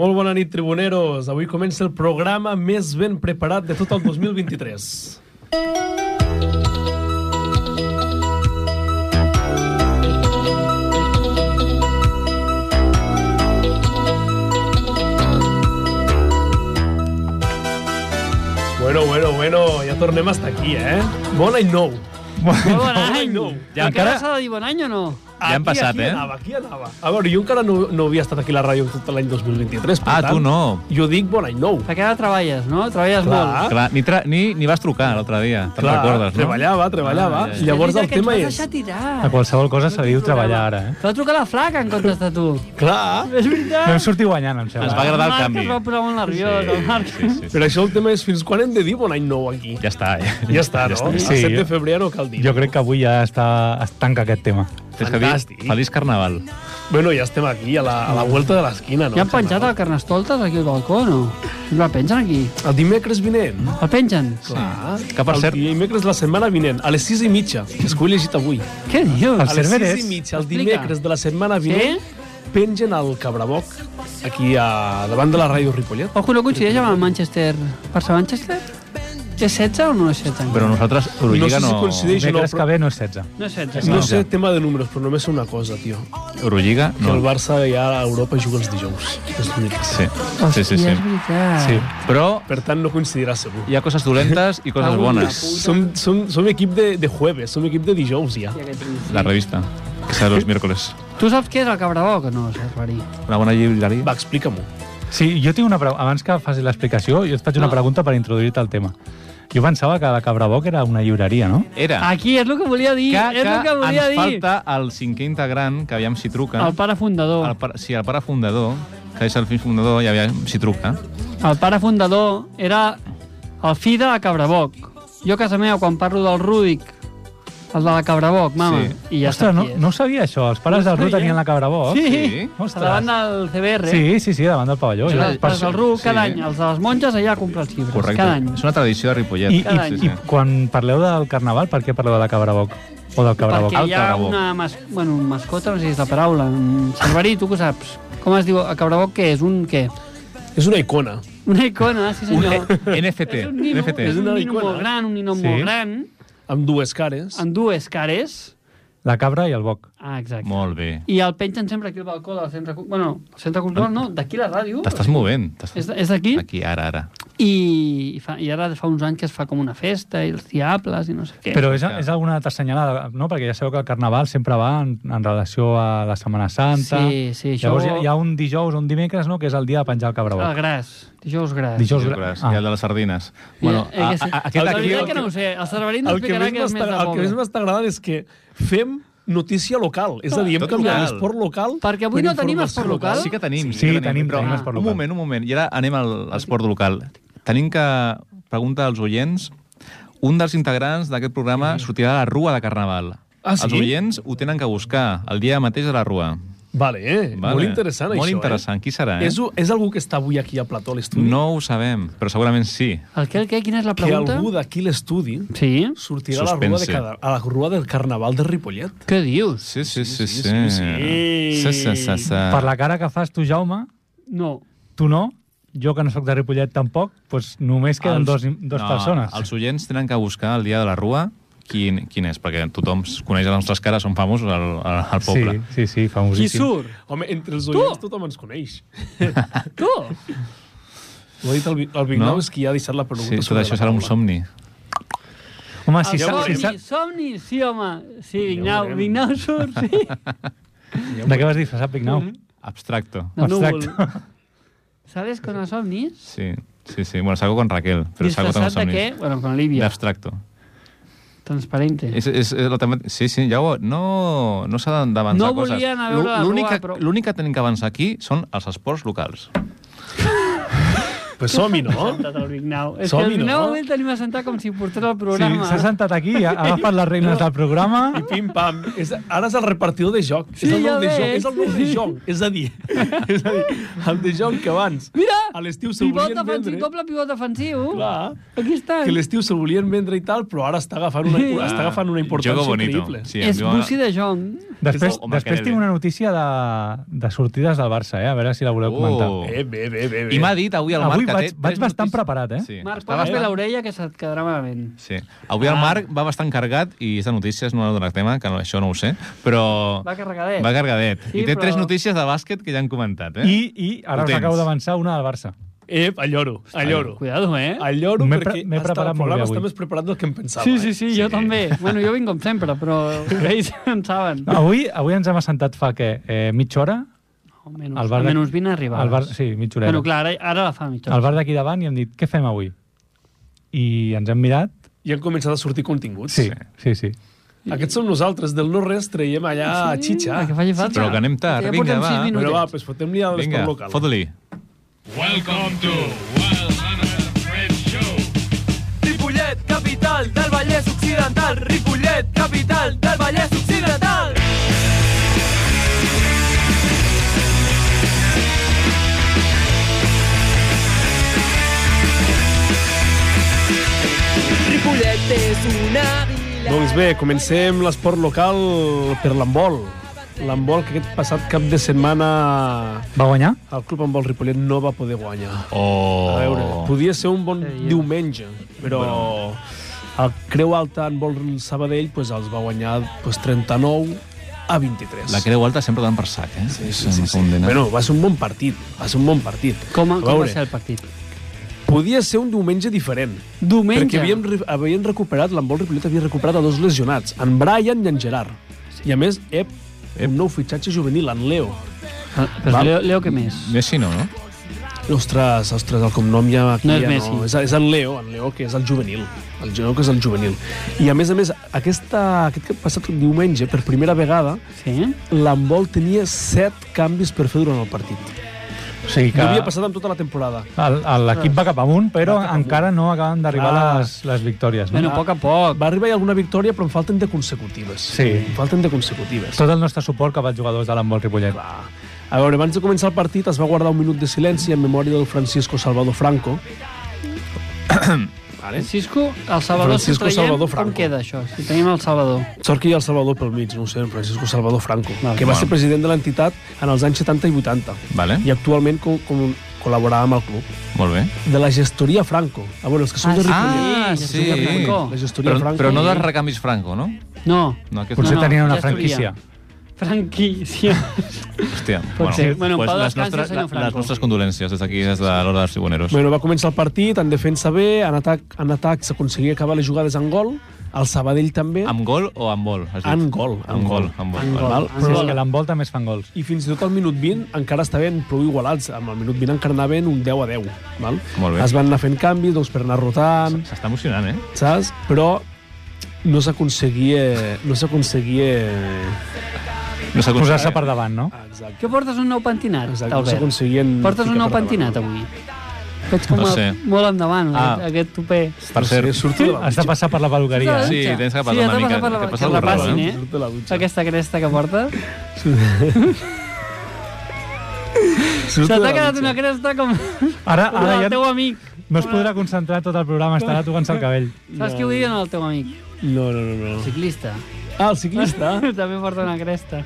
Molt bona nit, tribuneros. Avui comença el programa més ben preparat de tot el 2023. Bueno, bueno, bueno, ja tornem hasta aquí, eh? Bon any nou. Molt bon any! no. Ja Ja encara encara- s'ha de dir bon any o no? Ja han Aquí- passat, aquí eh? Anava, aquí anava. A veure, jo encara no, no havia estat aquí a la ràdio tot l'any 2023. per Ah, tant, tu no. Jo dic bon any nou. Perquè ara treballes, no? Treballes Clar. molt. Clar, ni, tra ni, ni vas trucar l'altre dia, te'n recordes, no? treballava, treballava. Ah, ja, ja. I llavors el tema és... veritat que és... ens vas deixar tirar. A qualsevol cosa se li diu treballar ara, eh? Te va trucar la flaca en comptes de tu. Clar, És veritat. Vam sortir guanyant, em Ens sembla. va agradar el Marc canvi. es va posar molt nerviós, el Marc. Sí, sí, sí. per això el tema és fins quan hem de dir bon any nou aquí. Ja està, eh? Ja està, no? està. El Sí. 7 de febrer no cal dir. Jo crec que avui ja està, es tanca aquest tema. Tens que dir Fantàstic. Feliç Carnaval. Bueno, ja estem aquí, a la, a la vuelta de l'esquina, no? Ja han penjat el carnestoltes aquí al balcó, no? El pengen aquí. El dimecres vinent. El pengen. Clar. Ah, Que, per el cert- dimecres la setmana vinent, a les 6 i mitja, que és que ho he llegit avui. Què El dius? A les 6 Cerveres. i mitja, el Explica. dimecres de la setmana vinent, pengen el cabraboc aquí a, davant de la ràdio Ripollet. Ojo, no coincideix amb el Manchester. Per ser Manchester? És 16 o no és 16? Però nosaltres, Eurolliga No sé si no... coincideix. Sí, Dimecres no, però- que ve no és 16. No és 16. No No, sé Ah, ja. tema de números, però només sé una cosa, tio. Eurolliga Que el no. Barça ja a Europa juga els dijous. És l'únic. Sí, sí, sí. Hòstia, sí. És veritat. Sí. Però Per tant, no coincidirà segur. hi ha coses dolentes i coses bones. Som, som, som equip de, de jueves, som equip de dijous ja. Hòstia, que trist. La revista, que serà els miércoles. Tu saps què és el cabraboc o no, Servari? Una bona llibreria. Va, explica-m'ho. Sí, jo tinc una pregunta. Abans que facis l'explicació, jo et faig una Ah. pregunta per introduir-te al tema. Jo pensava que la Cabraboc era una llibreria, no? Era Aquí, és el que volia dir, que, és el que volia ens dir. falta el cinquè integrant, que aviam si truca. El pare fundador. El pare, sí, el pare fundador, que és el fill fundador, i aviam si truca. El pare fundador era el fill de la Cabraboc. Jo a casa meva, quan parlo del Rúdic, el de la Cabraboc, mama, Sí. sí. i ja Ostres, sap no, qui és. no ho sabia això. Els pares No del Ru sabia. tenien la Cabraboc. Sí, Sí. Ostres. davant del CBR. Sí, sí, sí, davant del pavelló. Els, Jo, per els això- del RU sí. cada any, els de les monges allà compren els llibres, Correcte. cada any. És una tradició de Ripollet. I, Cada any. i, I quan parleu del carnaval, per què parleu de la Cabraboc? O del Cabraboc? Perquè el hi ha Cabraboc. una mas... bueno, un mascota, no sé si és la paraula. un Cerverí, tu que ho saps? Com es diu? A Cabraboc què és? Un què? És una icona. Una icona, sí Un senyor. NFT. És un nino, NFT. és un Una eh? nino icona. molt gran, un nino Sí. molt gran, Amb dues cares. amb dues cares. La cabra i el boc. Ah, exacte. Molt bé. I el pengen sempre aquí al balcó del centre... cu- Bueno, el centre cultural no, d'aquí la ràdio. T'estàs movent. t'estàs- És, és d'aquí Aquí, ara, ara. i, fa, i ara fa uns anys que es fa com una festa i els diables i no sé què. Però és, Clar. és alguna altra senyalada, no? Perquè ja sabeu que el carnaval sempre va en, en relació a la Setmana Santa. Sí, sí, això- Llavors hi ha, hi ha un dijous o un dimecres, no?, que és el dia de penjar el cabraboc. El Ah, gras, dijous gras. Dijous... Gras, Ah. I el de les sardines. I- Bueno, eh, que sí. a, a, aquest la aquí... veritat que no ho sé, el Cerverín El que explicarà més que és més m'està de el que més poble. m'està agradant és que fem notícia local. És a dir, hem Tot canviat local. l'esport local... Perquè avui per no tenim informació esport local. Sí que tenim. Sí, que tenim, però, tenim Ah. esport Un local. moment, un moment. I ara anem al, al esport local. Tenim que preguntar als oients un dels integrants d'aquest programa sortirà a la Rua de Carnaval. Ah, sí? Els oients ho tenen que buscar el dia mateix a la Rua. Vale, eh? Vale. Molt interessant, Molt això, interessant. Qui serà, Eh? eh? És, és algú que està avui aquí a plató a l'estudi? No ho sabem, però segurament sí. El què, el què? Quina és la Que pregunta? algú d'aquí a l'estudi Sí? sortirà a la, rua de Suspense. cada, a la rua del Carnaval de Ripollet. Què dius? Sí, sí, sí, sí, sí. sí. Sí, sí, sí, sí. Per la cara que fas tu, Jaume, No. tu no, jo que no sóc de Ripollet tampoc, doncs només Els- queden dos, dos persones. Els oients tenen que buscar el dia de la rua quin, quin és, perquè tothom s- coneix les nostres cares, som famosos al, al, al poble. Sí, sí, sí, Qui famosíssim. surt? Home, entre els oients tothom ens coneix. Tu? Ho ha dit el, Vi- el Vignau, No? és qui ha deixat la pregunta. Sí, tot sobre això la serà un taula. somni. Home, El si Ah, saps... Si somni, saps somni, sí, home. Sí, Vignau, Vignau surt, sí. de què vas disfressat, Pignau? Abstracto. De núvol. Abstracte. ¿Sabes con los ovnis? Sí, sí, sí. Bueno, salgo con Raquel, pero salgo con ¿Disfrazada somni. qué? Bueno, con De Libia. abstracto. Transparente. És, és, és la tema... Sí, sí, ja ho... No, no s'ha d'avançar No coses. volien anar a veure la L'únic rua, que- però- L'únic que tenim que avançar aquí són els esports locals. Pues som-hi, no? Sentat al Vignau. És que Som-hi, al Vignau no? no? el tenim assentat com si portés el Sí, programa. s'ha sentat aquí, ha agafat les regnes del programa. I pim, pam. És, ara és el repartidor de joc. Sí, és el ja nou de veig. joc. És el nou de joc. És a dir, és a dir el de joc que abans Mira! a l'estiu se'l Pivot volien defensiu, vendre. doble pivot defensiu. Clar, Aquí està. que l'estiu se'l volien vendre i tal, però ara està agafant una, Sí. està agafant una Ah. Jogo importància bonito. increïble. Sí, em És diuen- Busi de Jong. Després, És el- després tinc una notícia de, de sortides del Barça, eh? a veure si la voleu Oh. comentar. Bé, Eh, bé, bé, bé. bé. I m'ha dit avui el Marc Avui que vaig, té vaig tres bastant notícies. preparat, eh? Sí, Marc, està paga bé bastant- l'orella que se't quedarà malament. Sí. Avui el Marc va bastant carregat i és de notícies, no del tema, que no, això no ho sé, però Va carregadet. va cargadet. Sí, I té però- tres notícies de bàsquet que ja han comentat, eh? I, i ara Ho us tens. acabo d'avançar una del Barça. Ep, alloro, alloro. Cuidado, eh? Alloro M'he pre- perquè m'he hasta preparat el molt bé programa avui. està més preparat del que em pensava. Sí, sí, eh? sí, jo també. Bueno, jo vinc com sempre, però ells en saben. No, avui, avui ens hem assentat fa, què, eh, mitja hora? Almenys, Al bar de- almenys 20 arribades. Al bar, sí, mitja horeta. Bueno, clar, ara, ara la fa mitja. Al bar d'aquí davant i hem dit, què fem avui? I ens hem mirat. I han començat a sortir continguts. Sí, sí, sí. Aquests som nosaltres, del no-res traiem allà xitxa. Que faci falta. Però que anem tard, Ja vinga, portem va. sis Però va, minutets. pues fotem-li a Vinga, l'esport local. fot-li. Ripollet, capital del Vallès Occidental. Ripollet, capital del Vallès Occidental. Ripollet és una vila... Doncs bé, comencem l'esport local per l'handbol. L'handbol que aquest passat cap de setmana Va guanyar? el club handbol Ripollet no va poder guanyar. Oh. A veure, podia ser un bon Què dius? diumenge, però el Creu Alta handbol Sabadell pues, els va guanyar pues, 39 a 23. La Creu Alta sempre dan per sac, eh? Sí, sí, sí, sí. Bueno, va ser un bon partit, va ser un bon partit. Com, a com va veure, ser el partit? podia ser un diumenge diferent, Diumenge. perquè havíem, re- havien recuperat, l'handbol Ripollet havia recuperat a dos lesionats, en Brian i en Gerard. I a més, ep, ep. un nou fitxatge juvenil, en Leo. Ah, Però Val. Leo, Leo, què més? Messi no, no? Ostres, ostres, el cognom ja aquí No és ja Messi. No. És, és en Leo, en Leo, que és el juvenil. El Leo, que és el juvenil. I a més a més, aquesta, aquest que ha passat diumenge, per primera vegada, Sí? l'handbol tenia set canvis per fer durant el partit. O sigui Que... No havia passat amb tota la temporada. el- el- L'equip va cap amunt, però encara no acaben d'arribar Ah. les, les victòries. No? Bueno, a poc a poc. Va arribar alguna victòria, però en falten de consecutives. Sí. En falten de consecutives. Tot el nostre suport cap als jugadors de l'handbol Ripollet. Clar. A veure, abans de començar el partit es va guardar un minut de silenci en memòria del Francisco Salvador Franco. vale. Francisco, el Salvador, Francisco si traiem, Salvador on Franco. Ah, queda això? Si tenim el Salvador. Sort que hi ha el Salvador pel mig, no ho sé, en Francisco Salvador Franco, Val. que va ser Bueno. president de l'entitat en els anys 70 i 80 Vale, i actualment co com col·laborava amb el club. molt bé. De la gestoria Franco. A veure, els que són de Ripollet. Ah, sí, sí. ja som de Franco. La gestoria Però, Franco. però no dels recanvis Franco, no? No, No, aquest Potser No, no, tenien una ja es franquícia. franquícia. Hòstia. ser. Bueno, en doncs pau les, descansi, nostres, senyor la- les Franco. nostres condolències des d'aquí, des de l'hora dels tribuneros. Bueno, va començar el partit, en defensa bé, en atac, en atac s'aconseguia acabar les jugades en gol, el Sabadell també, Amb gol o amb vol? has dit? En gol, en Amb gol. gol. Amb En gol. gol. Val. val? Però és Angola. que l'handbol també es fan gols. i fins i tot al minut 20 encara estaven prou igualats. Amb el minut 20 encara anaven un 10 a 10. Val? Molt bé. Es van anar fent canvis doncs, per anar rotant, S'està emocionant, eh? saps? Però no s'aconseguia... No s'aconseguia... No s'ha aconseguit. Posar-se per davant, no? Ah, Exacte. Què portes un nou pentinat, Exacte, no Albert? s'aconseguien... Portes un ficar nou per davant. pentinat avui. Veig com No no sé. sé. molt endavant, ah. Ah. aquest, aquest tupé. Per No sé, cert, Surt de la Has de dutxa. passar per la peluqueria, eh? Sí, tens que passar sí, una has de mica, per que la, passa que alguna cosa, repassin, eh? eh? Surt de la dutxa. Aquesta cresta que porta. Surt Se de t'ha la quedat dutxa. una cresta com Ara, com la ara del teu ja amic. no es podrà concentrar tot el programa, estarà tocant-se el cabell. Saps què ho diuen al teu amic? No, no, no, no. Ciclista. Ah, el ciclista? També porta una cresta.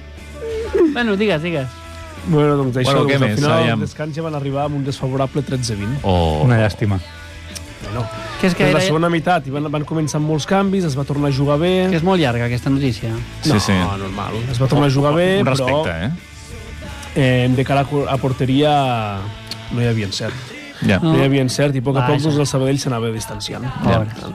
Bueno, digues, digues. bueno, doncs això, Bueno, què doncs, al més? final Aviam. del descans ja van arribar amb un desfavorable 13-20. Oh. Una llàstima. Bueno, Que és, que és la era, segona meitat i van, van començar amb molts canvis, es va tornar a jugar bé. que és molt llarga, aquesta notícia. Sí, sí. No, normal. Es va tornar a jugar bé, Un però respecte, eh? eh, de cara a cor- a porteria no hi havia encert. Ja. No hi havia encert i a poc a Vaja. poc doncs, el Sabadell s'anava distanciant. Ja. Ja.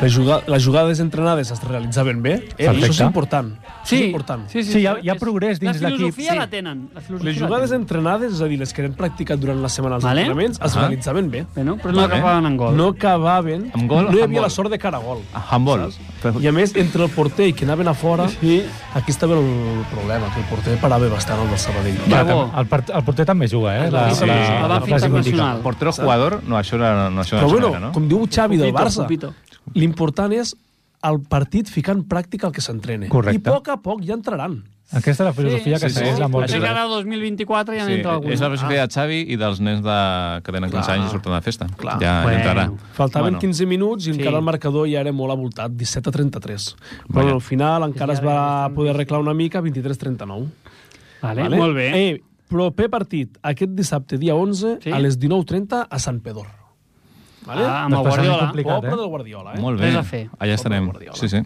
Les, juga, les jugades entrenades es realitzaven bé. Eh, Perfecte. això és important. Això és important. Sí, hi ha- hi ha progrés dins La l'equip. filosofia Sí. la tenen. La filosofia Les la jugades tenen. entrenades, és a dir, les que hem practicat durant la setmana als Vale. entrenaments, es Ah. realitzaven bé. Bueno, però no acabaven en gol. No acabaven, Amb gol, no hi amb havia gol. la sort de cara a gol. Handball. I a més, entre el porter i que anaven a fora, Sí. aquí estava el problema, que el porter parava bastant el del Sabadell. Ja. Clar, bo. el, part- el porter també juga, eh? La, Sí, la, la van fer frase mítica. internacional. Portero jugador, no, això era, no, això Però això no bueno, era, no? com diu Xavi del Pupito, Barça, pupito. l'important és el partit ficar en pràctica el que s'entrena. I Correcte. a poc a poc ja entraran. Aquesta és la filosofia que sí, segueix sí. la Potser que Molde. ara el 2024 ja Sí, n'entra alguna. és la versió que hi ha de Xavi i dels nens de... que tenen 15 Clar. anys i surten a la festa. Clar. Ja, Bueno. ja entrarà. Faltaven Bueno. bueno. 15 minuts i Sí. encara el marcador ja era molt avoltat, 17 a 33. Però Vaja. al final encara es Sí, ara ja va estan poder arreglar una mica, 23-39. Vale, Molt bé. Eh, proper partit, aquest dissabte, dia 11, Sí. sí. a les 19.30, a Sant Pedor. Vale? Ah, amb el Desplaçament Guardiola. complicat. Poble eh? del Guardiola, eh? Molt bé. Res a fer. Allà estarem. Guardiola. Sí, sí.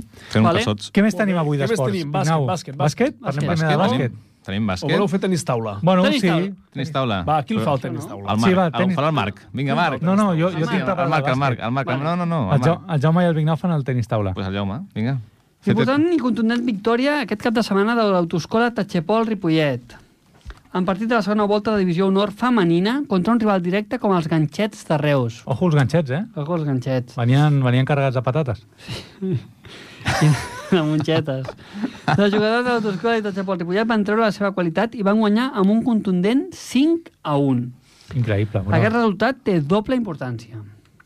Vale. Fent vale. passots. Què més tenim avui Què més d'esports? tenim? Bàsquet, Ignau, bàsquet, bàsquet. bàsquet. Bàsquet, Parlem primer de tenim? bàsquet. Tenim, tenim O bàsquet. voleu fer tenis taula? Bueno, Tenis sí. taula. Tenis taula. Va, aquí el fa el Però- tenis taula. El Marc. Sí, Sí, va, va, tenis- tenis... el Marc. Vinga, Marc. No, no, jo, jo Home, Sí, tinc el preparat Marc, el el Marc, bàsquet. el Marc. Vale. No, no, no. El, El jo, Marc. el Jaume i el Vignau fan el tenis taula. Pues el Jaume, vinga. Important i contundent victòria aquest cap de setmana de l'autoescola Tachepol-Ripollet. En partit de la segona volta de Divisió Honor femenina contra un rival directe com els ganxets de Reus. Ojo, els ganxets, eh? Ojo els ganxets. Venien, venien carregats de patates. de monxetes. Els jugadors de l'autoescola de Tachepol-Ripollet van treure la seva qualitat i van guanyar amb un contundent 5 a 1. Increïble. Bueno, Aquest resultat té doble importància.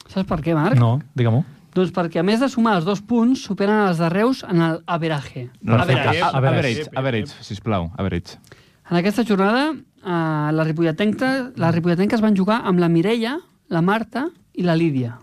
Saps per què, Marc? No, digue-m'ho. Doncs perquè, a més de sumar els dos punts, superen els de Reus en el averaje. No, a veure, Perfecte. a, a, A veure. average, average, sisplau, average. En aquesta jornada, eh, les, ripolletenques, les ripolletenques van jugar amb la Mireia, la Marta i la Lídia.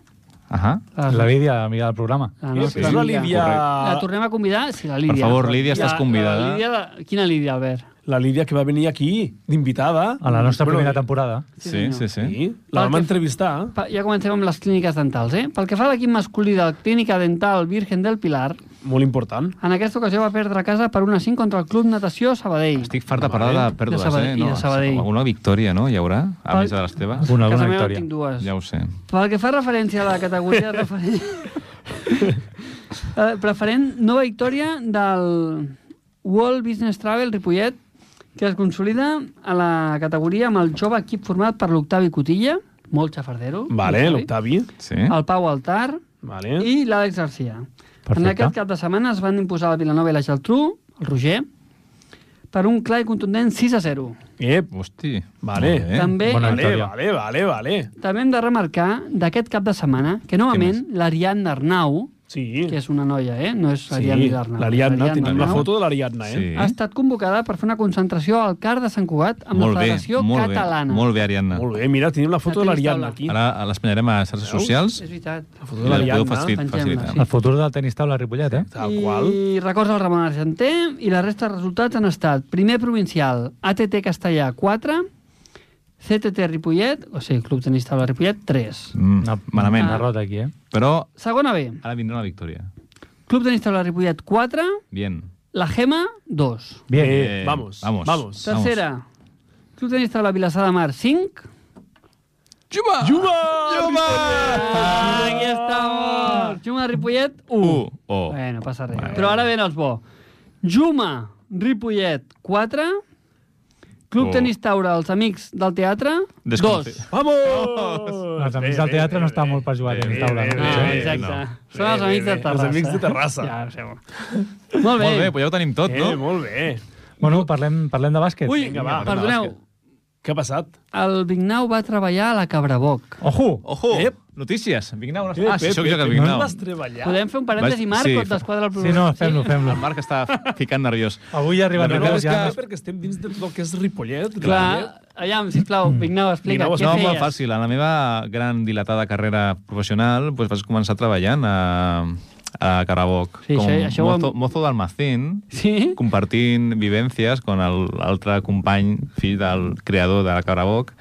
Ahà. Les- La Lídia, amiga del programa. la Eh, nostra però és la Lídia. Lídia... La tornem a convidar? Sí, la Lídia. favor, Lídia, estàs La- convidada. La Lídia, la... Quina Lídia, Albert? La Lídia que va venir aquí, d'invitada. A la nostra Bueno, primera temporada. Sí, sí, sí. Sí, la vam Perquè- entrevistar. Pa- Ja comencem amb les clíniques dentals, eh? Pel que fa a l'equip masculí de la Clínica Dental Virgen del Pilar, Molt important. en aquesta ocasió va perdre a casa per 1 a 5 contra el Club Natació Sabadell. Estic fart de parlar de pèrdues, De Sabadell, eh? i de Sabadell. Alguna victòria, no? Hi haurà, a Pel- més de les teves? Alguna, a alguna casa meva victòria. tinc dues. Ja ho sé. Pel que fa referència a la categoria referent... Eh, preferent nova victòria del World Business Travel Ripollet que es consolida a la categoria amb el jove equip format per l'Octavi Cotilla, molt xafardero, Vale, l'Octavi, l'Octavi. Sí? el Pau Altar Vale. I... i l'Àlex Garcia. En Perfecte. aquest cap de setmana es van imposar el Vilanova i la Geltrú, el Roger, per un clar i contundent 6 a 0. Ep, Hosti. Vale. Molt bé. També Bona vale, victòria. vale, vale, vale. També hem de remarcar d'aquest cap de setmana que, novament, l'Ariadna Arnau, Sí. que és una noia, eh? No és Sí, l'Ariadna Arnau. l'Ariadna, tenim la Arnau foto de l'Ariadna, eh? Sí. Ha estat convocada per fer una concentració al CAR de Sant Cugat amb la Federació molt Catalana. Bé, molt bé, Ariadna. Molt bé, mira, tenim la foto La de tenis l'Ariadna taula. aquí. Ara l'espanyarem a xarxes socials És veritat. La foto i de la podeu l'Ariadna, facil- Pengem-la, facilitar. sí. El futur del tenis taula a Ripollet, eh? tal qual. I records al Ramon Argenter i la resta de resultats han estat primer provincial ATT Castellà 4, CTT Ripollet, o sigui, Club Tenis Taula Ripollet 3. Mm, Una, malament. Una derrota aquí, eh? Però Segona B, ara vindrà la victòria. Club Tenis Taula Ripollet 4, Bien. la Gema 2. Bien. Eh, vamos, vamos. vamos. Vamos. Tercera, Club Tenis Taula Vilassar de Mar 5. Juma! Juma! Juma! Ah, aquí estamos! Juma Ripollet 1. U. O. Bueno, passa res. Però ara ven els bo. Juma Ripollet 4, Club Oh. Tenis Taura, els amics del teatre 2. Desconfi- Vamos! Els amics del eh, teatre no estan molt per jugar a tenis taula. bé, no? bé, Ah, bé. Sí. exacte. no. Són els amics bé, de bé. Terrassa. Els amics de Terrassa. Ja, ho sé. Molt bé. Molt bé, pues ja ho tenim tot, Eh, no? molt bé. Bueno, parlem, parlem de bàsquet. Ui, Vinga, va, perdoneu. bàsquet. Què ha passat? El Vignau va treballar a la Cabraboc. Ojo! Ojo! Ep. Notícies. Vignau. Una... Ep, Ah, sí, ep, sóc jo ep, que el ep, Vignau. No vas treballar. Podem fer un parèntesi, Vas- Marc, sí, o et fa- desquadra el Sí, programa? no, fem-lo, fem-lo. El Marc està ficant nerviós. Avui arriben La Però veritat records és és ja... que- que... perquè estem dins de tot el que és Ripollet. Clar, aviam, sisplau, Vignau, explica, Vignau, què no, feies? molt fàcil. En la meva gran dilatada carrera professional doncs vaig començar treballant a, a Caraboc. Sí, com això- això ho hem- mozo, mozo d'almacén, Sí? compartint vivències amb l'altre company, fill del creador de la Caraboc.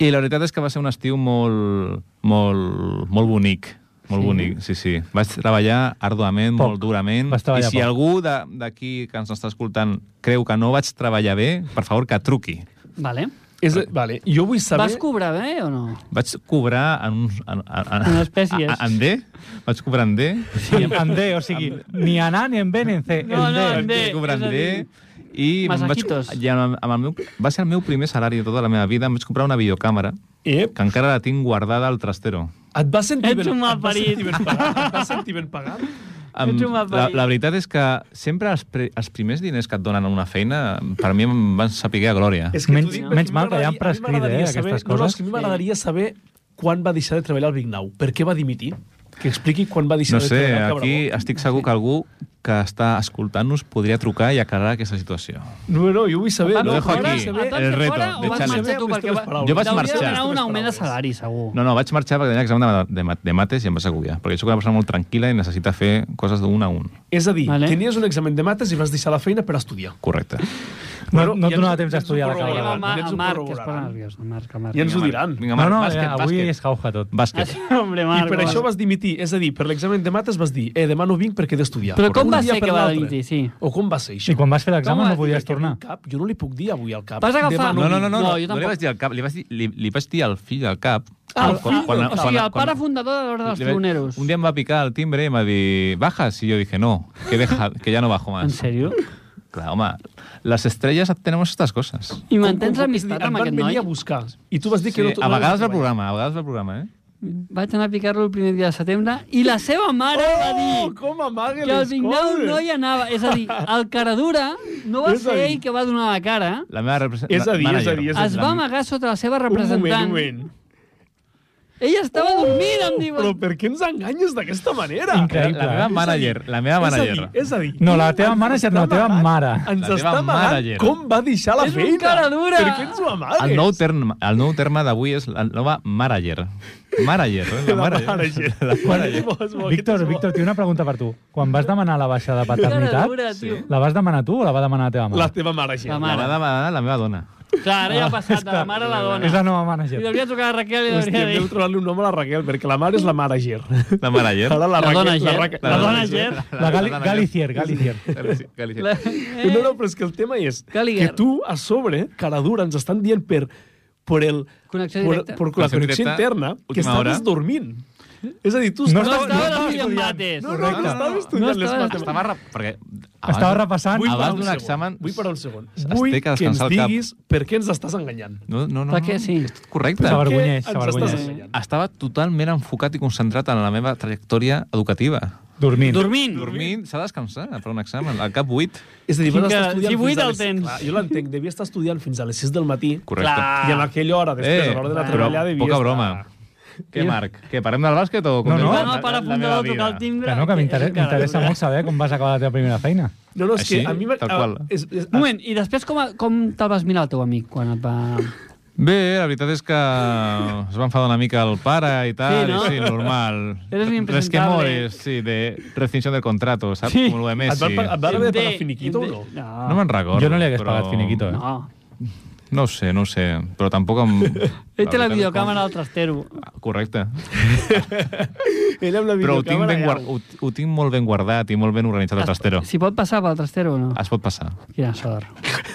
I la veritat és que va ser un estiu molt, molt, molt bonic. Molt sí. bonic, sí, sí. Vaig treballar arduament, Poc. poc. molt durament. Vas treballar I si poc. algú de- d'aquí que ens està escoltant creu que no vaig treballar bé, per favor, que truqui. Vale. És, vale, jo vull saber... Vas cobrar bé o no? Vaig cobrar en uns... En, en, en, En espècies. a- a- En D, vaig cobrar en D. Sí, en D, o sigui, ni en A ni en B ni en C. No, en no, D. en D. Vaig cobrar en és a D. dir, I em vaig, masajitos. i amb, amb el meu, va ser el meu primer salari de tota la meva vida. Em vaig comprar una videocàmera Ep, que encara la tinc guardada al trastero. et vas sentir Ets ben, un et vas malparit. sentir ben pagat? Et vas sentir ben pagat? Em- Ets un la, malparit. la veritat és que sempre els, pre, els primers diners que et donen en una feina per mi em van saber a glòria. És que Menys- t'ho dic, menys perquè mal que ja m'agradaria- han prescrit, a mi m'agradaria eh, aquestes saber, No, no, és coses. que a mi m'agradaria saber quan va deixar de treballar al Vignau. Per què va dimitir? Que expliqui quan va deixar No de sé, treballar al aquí Cabrabó. estic segur que algú que està escoltant-nos podria trucar i aclarar aquesta situació. No, no, jo vull saber. Ah, Lo no, dejo vull Fora, aquí. saber- et vas el fer reto fora de o vas Challenge. marxar tu? Perquè va- Jo vaig t'hauria de marxar. demanar un augment de salari, segur. No, no, vaig marxar perquè tenia examen de, de, mat- de mates i em va seguir. Perquè jo soc una persona molt tranquil·la i necessita fer coses d'un a un. És a dir, Vale. tenies un examen de mates i vas deixar la feina per estudiar. Correcte. No, no ja et donava ens- temps ja a ens ho estudiar la Veiem corroborarem. el, cabra. Ma- Ens ho el Marc, que es posa corroboraran. nerviós. El Marc, el Marc. I ens ho Marc, diran. Vinga, No, Marc, no, bàsquet, ja, avui bàsquet. és jauja tot. Ah, Bàsquet. sí, hombre, I Marc. per va. això vas dimitir. És a dir, per l'examen de mates vas dir eh, demà no vinc perquè he d'estudiar. Però Un com va dia ser per que va l'altre. dimitir, sí? O com va ser això? I quan vas fer Com l'examen vas no podies Perquè tornar. un Cap, jo no li puc dir avui al cap. Vas agafar- Demà No, no, no, vinc. no, No, no, jo no tampoc. li vaig dir al cap, li vaig dir, li, li vaig dir al fill del cap. Ah, el fill del O cap. sigui, el pare fundador de l'Hora dels li vaig- Pioneros. Un dia em va picar el timbre i em va dir, bajas? I jo dije, no, que, deja, que ja no bajo En más. sèrio? Clar, home, les estrelles tenemos estas cosas. I Com- mantens com- l'amistat em amb van aquest venir noi? a buscar. I tu vas dir que Sí, no... tu- a no vegades vas el programa, a vegades el programa, eh? Vaig anar a picar-lo el primer dia de setembre i la seva mare treballar. va Oh, dir com amaga que el les Vignau coses. no hi anava. És a dir, el Caradura no va És a ser dir- ell que va donar la cara, La meva represent... És a dir, és a manager. dir, és a dir. es va amagar sota la seva Un moment, representant. un moment. Oh, Ella estava dormint, em Però diuen. per què ens enganyes d'aquesta manera? Increïble. La, la meva És manager, la meva manager. És a dir, és a dir... No, la teva mare és la teva mare. Ens La està teva amagant manager. com va deixar la És un feina. cara dura. Per què ens ho amagues? El nou terme, el nou terme d'avui és la nova manager. Manager, eh? La manager. La manager. Víctor, Víctor, tinc una pregunta per tu. Quan vas demanar la baixa de Cara paternitat, dura, tio. la vas demanar tu o la va demanar la teva La mare? teva manager. La La mare. va demanar la meva dona. Clar, ara Ah, ja ha passat de la mare a la És la dona. nova I manager. devia trucar a Raquel i Hòstia, devia hem de dir... trobar-li un nom a la Raquel, perquè la mare és la manager. La manager. Ara la, La Raquel... dona Ger. Raquel- La dona Ger. La Gali- Galicier, Galicier. Galicier. Galicier. La- Eh. No, no, però és que el tema és Gallagher. que tu, a sobre, cara dura, ens estan dient per, per el... Connexió per, directa. per la Connexió connexió directa, interna, que última hora. estaves dormint. És a dir, tu No No estaves... estava estava dormint en mates. No, no, Correcte. que No, no. estaves estudiant No les estava- matemàtiques. Estava... rep- Perquè... Estava de- repassant. Vull Abans parar un d'un segon. examen- Vull parar un segon. Es té Vull que que, ens descansar el cap. diguis per què ens estàs enganyant. No, no, no. Per no. què sí? És correcte. S'avergonyeix, Per què ens s'avergonyeix. estàs enganyant? Estava totalment enfocat i concentrat en la meva trajectòria educativa. Dormint. Dormint. Dormint, s'ha de descansar per un examen, al cap 8. És a dir, vas Fins estar que- estudiant si vuit fins a el les- tens. Clar, jo l'entenc, devia estar estudiant fins a les 6 del matí Correcte. Eh, Clar. i en aquella hora, després, a l'hora de la Ah. però treballar, devia poca estar... broma. Què, Marc? Què, parem del bàsquet o... No, no. No, continuem? no, La- para la meva fundador vida. tocar el timbre. Que no, que És un cara m'interessa dura. molt saber com vas acabar la teva primera feina. No, no, és Així, que a mi... m'ha- tal qual. És, és, Un moment, i després com, com te'l vas mirar el teu amic quan et va... Bé, la veritat és que es va enfadar una mica el pare i Sí, tal, sí, no? no? sí normal. Eres un impresentable. Resquemores, sí, de rescisión del contrato, saps? Sí. Sí. Com lo de et Messi. van, pa- et van haver de pagar Em finiquito o em no? de- No me'n recordo. Jo no li hagués però- pagat finiquito, eh? No. No ho sé, no ho sé, però tampoc em... Ell té la veritat és videocàmera al trastero. Com... Correcte. Ell amb la Però ho tinc, videocàmera... ben ja- guard... ho, ho tinc molt ben guardat i molt ben organitzat el trastero. Si pot passar pel trastero o no? Ah. Es pot passar. Quina sort.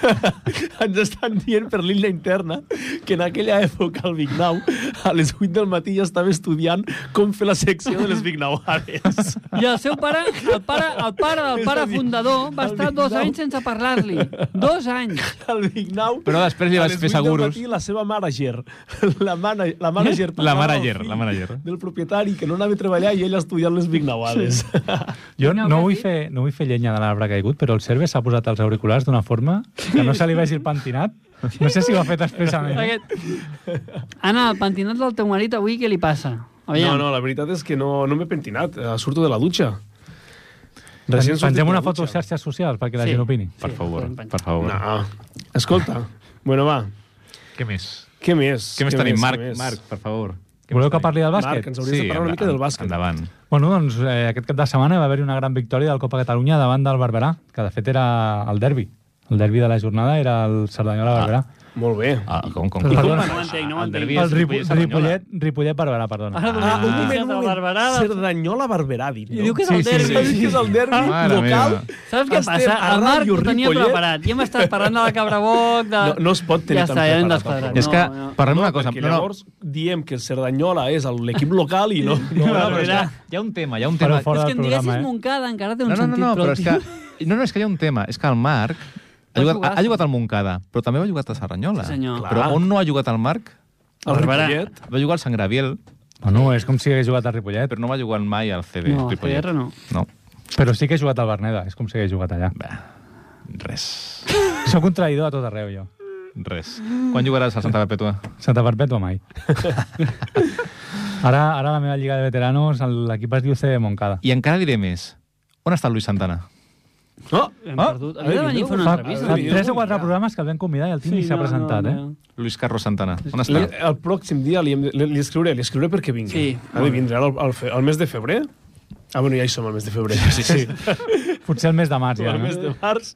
ens estan dient per l'illa interna que en aquella època el Vignau a les 8 del matí ja estava estudiant com fer la secció de les Vignauades. I el seu pare, el pare, el pare del És a pare dir, fundador, va el estar dos Vignau- anys sense parlar-li. Dos anys. El Vignau... Però després li a vaig les fer 8 del seguros. matí, la seva manager. La, mana, la manager. La parlava al manager, fill la manager. Del propietari que no anava a treballar i ell estudiant les Vignauades. Jo Vinga, no ho vull, has dit? fer, no vull fer llenya de l'arbre caigut, però el Cerve s'ha posat els auriculars d'una forma que no se li vegi el pentinat. No sé si ho ha fet expressament. Aquest... Anna, ah, el pentinat del teu marit avui què li passa? No, no, la veritat és que no, no m'he pentinat. Eh, Surto de la dutxa. Recient sortit Pengem de la una dutxa. foto a xarxes socials perquè la Sí. gent opini. Per Sí, favor, podem penjar. per favor. No. Escolta, bueno, va, Què més? què més? Què més tenim? què Marc, més? Marc, per favor. Què Voleu més que tenim? parli del Marc, bàsquet? ens hauries de parlar en- una mica del bàsquet. Endavant. Bueno, doncs eh, aquest cap de setmana va haver-hi una gran victòria del Copa Catalunya davant del Barberà, que de fet era el derbi. El derbi de la jornada era el Cerdanyola-Barberà. Ah. Molt bé. Ah, com, com, com, Però perdona. No ho entenc, no ho El entenc. derbi El és Ripo, Ripollet, Cerdanyola. Ripollet, Ripollet Barberà, perdona. Ara Ah, un moment, de un moment. Barberà, de- Cerdanyola-Barberà, dit, I no? diu que és Sí, el sí, derbi. Saps que és el derbi Mare local? meva. Saps què Estem passa? a El Marc Ràdio ho tenia Ripollet. preparat. I hem estat parlant de la Cabrabot, de... No, no es pot tenir ja tan està, ja hem preparat, desquadrat. tampoc. És que, no. parlem una cosa. Perquè No, no, llavors diem que Cerdanyola és el- l'equip local i no... no, no, no, però és Barberà. que hi ha un tema, hi ha un Però tema. fora és del que em programa, diguessis eh? Montcada encara té un No, no, no, sentit. no, però és el tio- que... No, no, és que hi ha un tema. És que el Marc ha Va jugat, jugar, ha jugat al Montcada, però també va jugat a Serranyola. Sí, senyor. Clar. Però on no ha jugat el Marc? el Barberà. Ripollet. Va jugar al Sant Graviel, Bueno, és com si hagués jugat al Ripollet, però no va jugar mai al CB. No, al Ripollet. CBR no. No, però sí que he jugat al Berneda, és com si hagués jugat allà. Bé, res. Sóc un traïdor a tot arreu, jo. Res. Quan jugaràs al Santa Perpètua? Santa Perpètua mai. ara, ara la meva lliga de veteranos, el- l'equip es diu CD Montcada. I encara diré més. On està el Luis Santana? Oh, Hem perdut. Havia de venir a fer una Fa, entrevista. fa sí, tres sí. o quatre programes que el vam convidar i el Tim sí, s'ha presentat, no, no. eh? Luis Carlos Santana. On Li, està? el pròxim dia li, hem de- li, li escriuré, li escriuré perquè vingui. Sí. Ha de vindre al, al, fe, al mes de febrer? Ah, bueno, ja hi som al mes de febrer. Sí, sí. Potser el mes de març, ja, al no? mes de març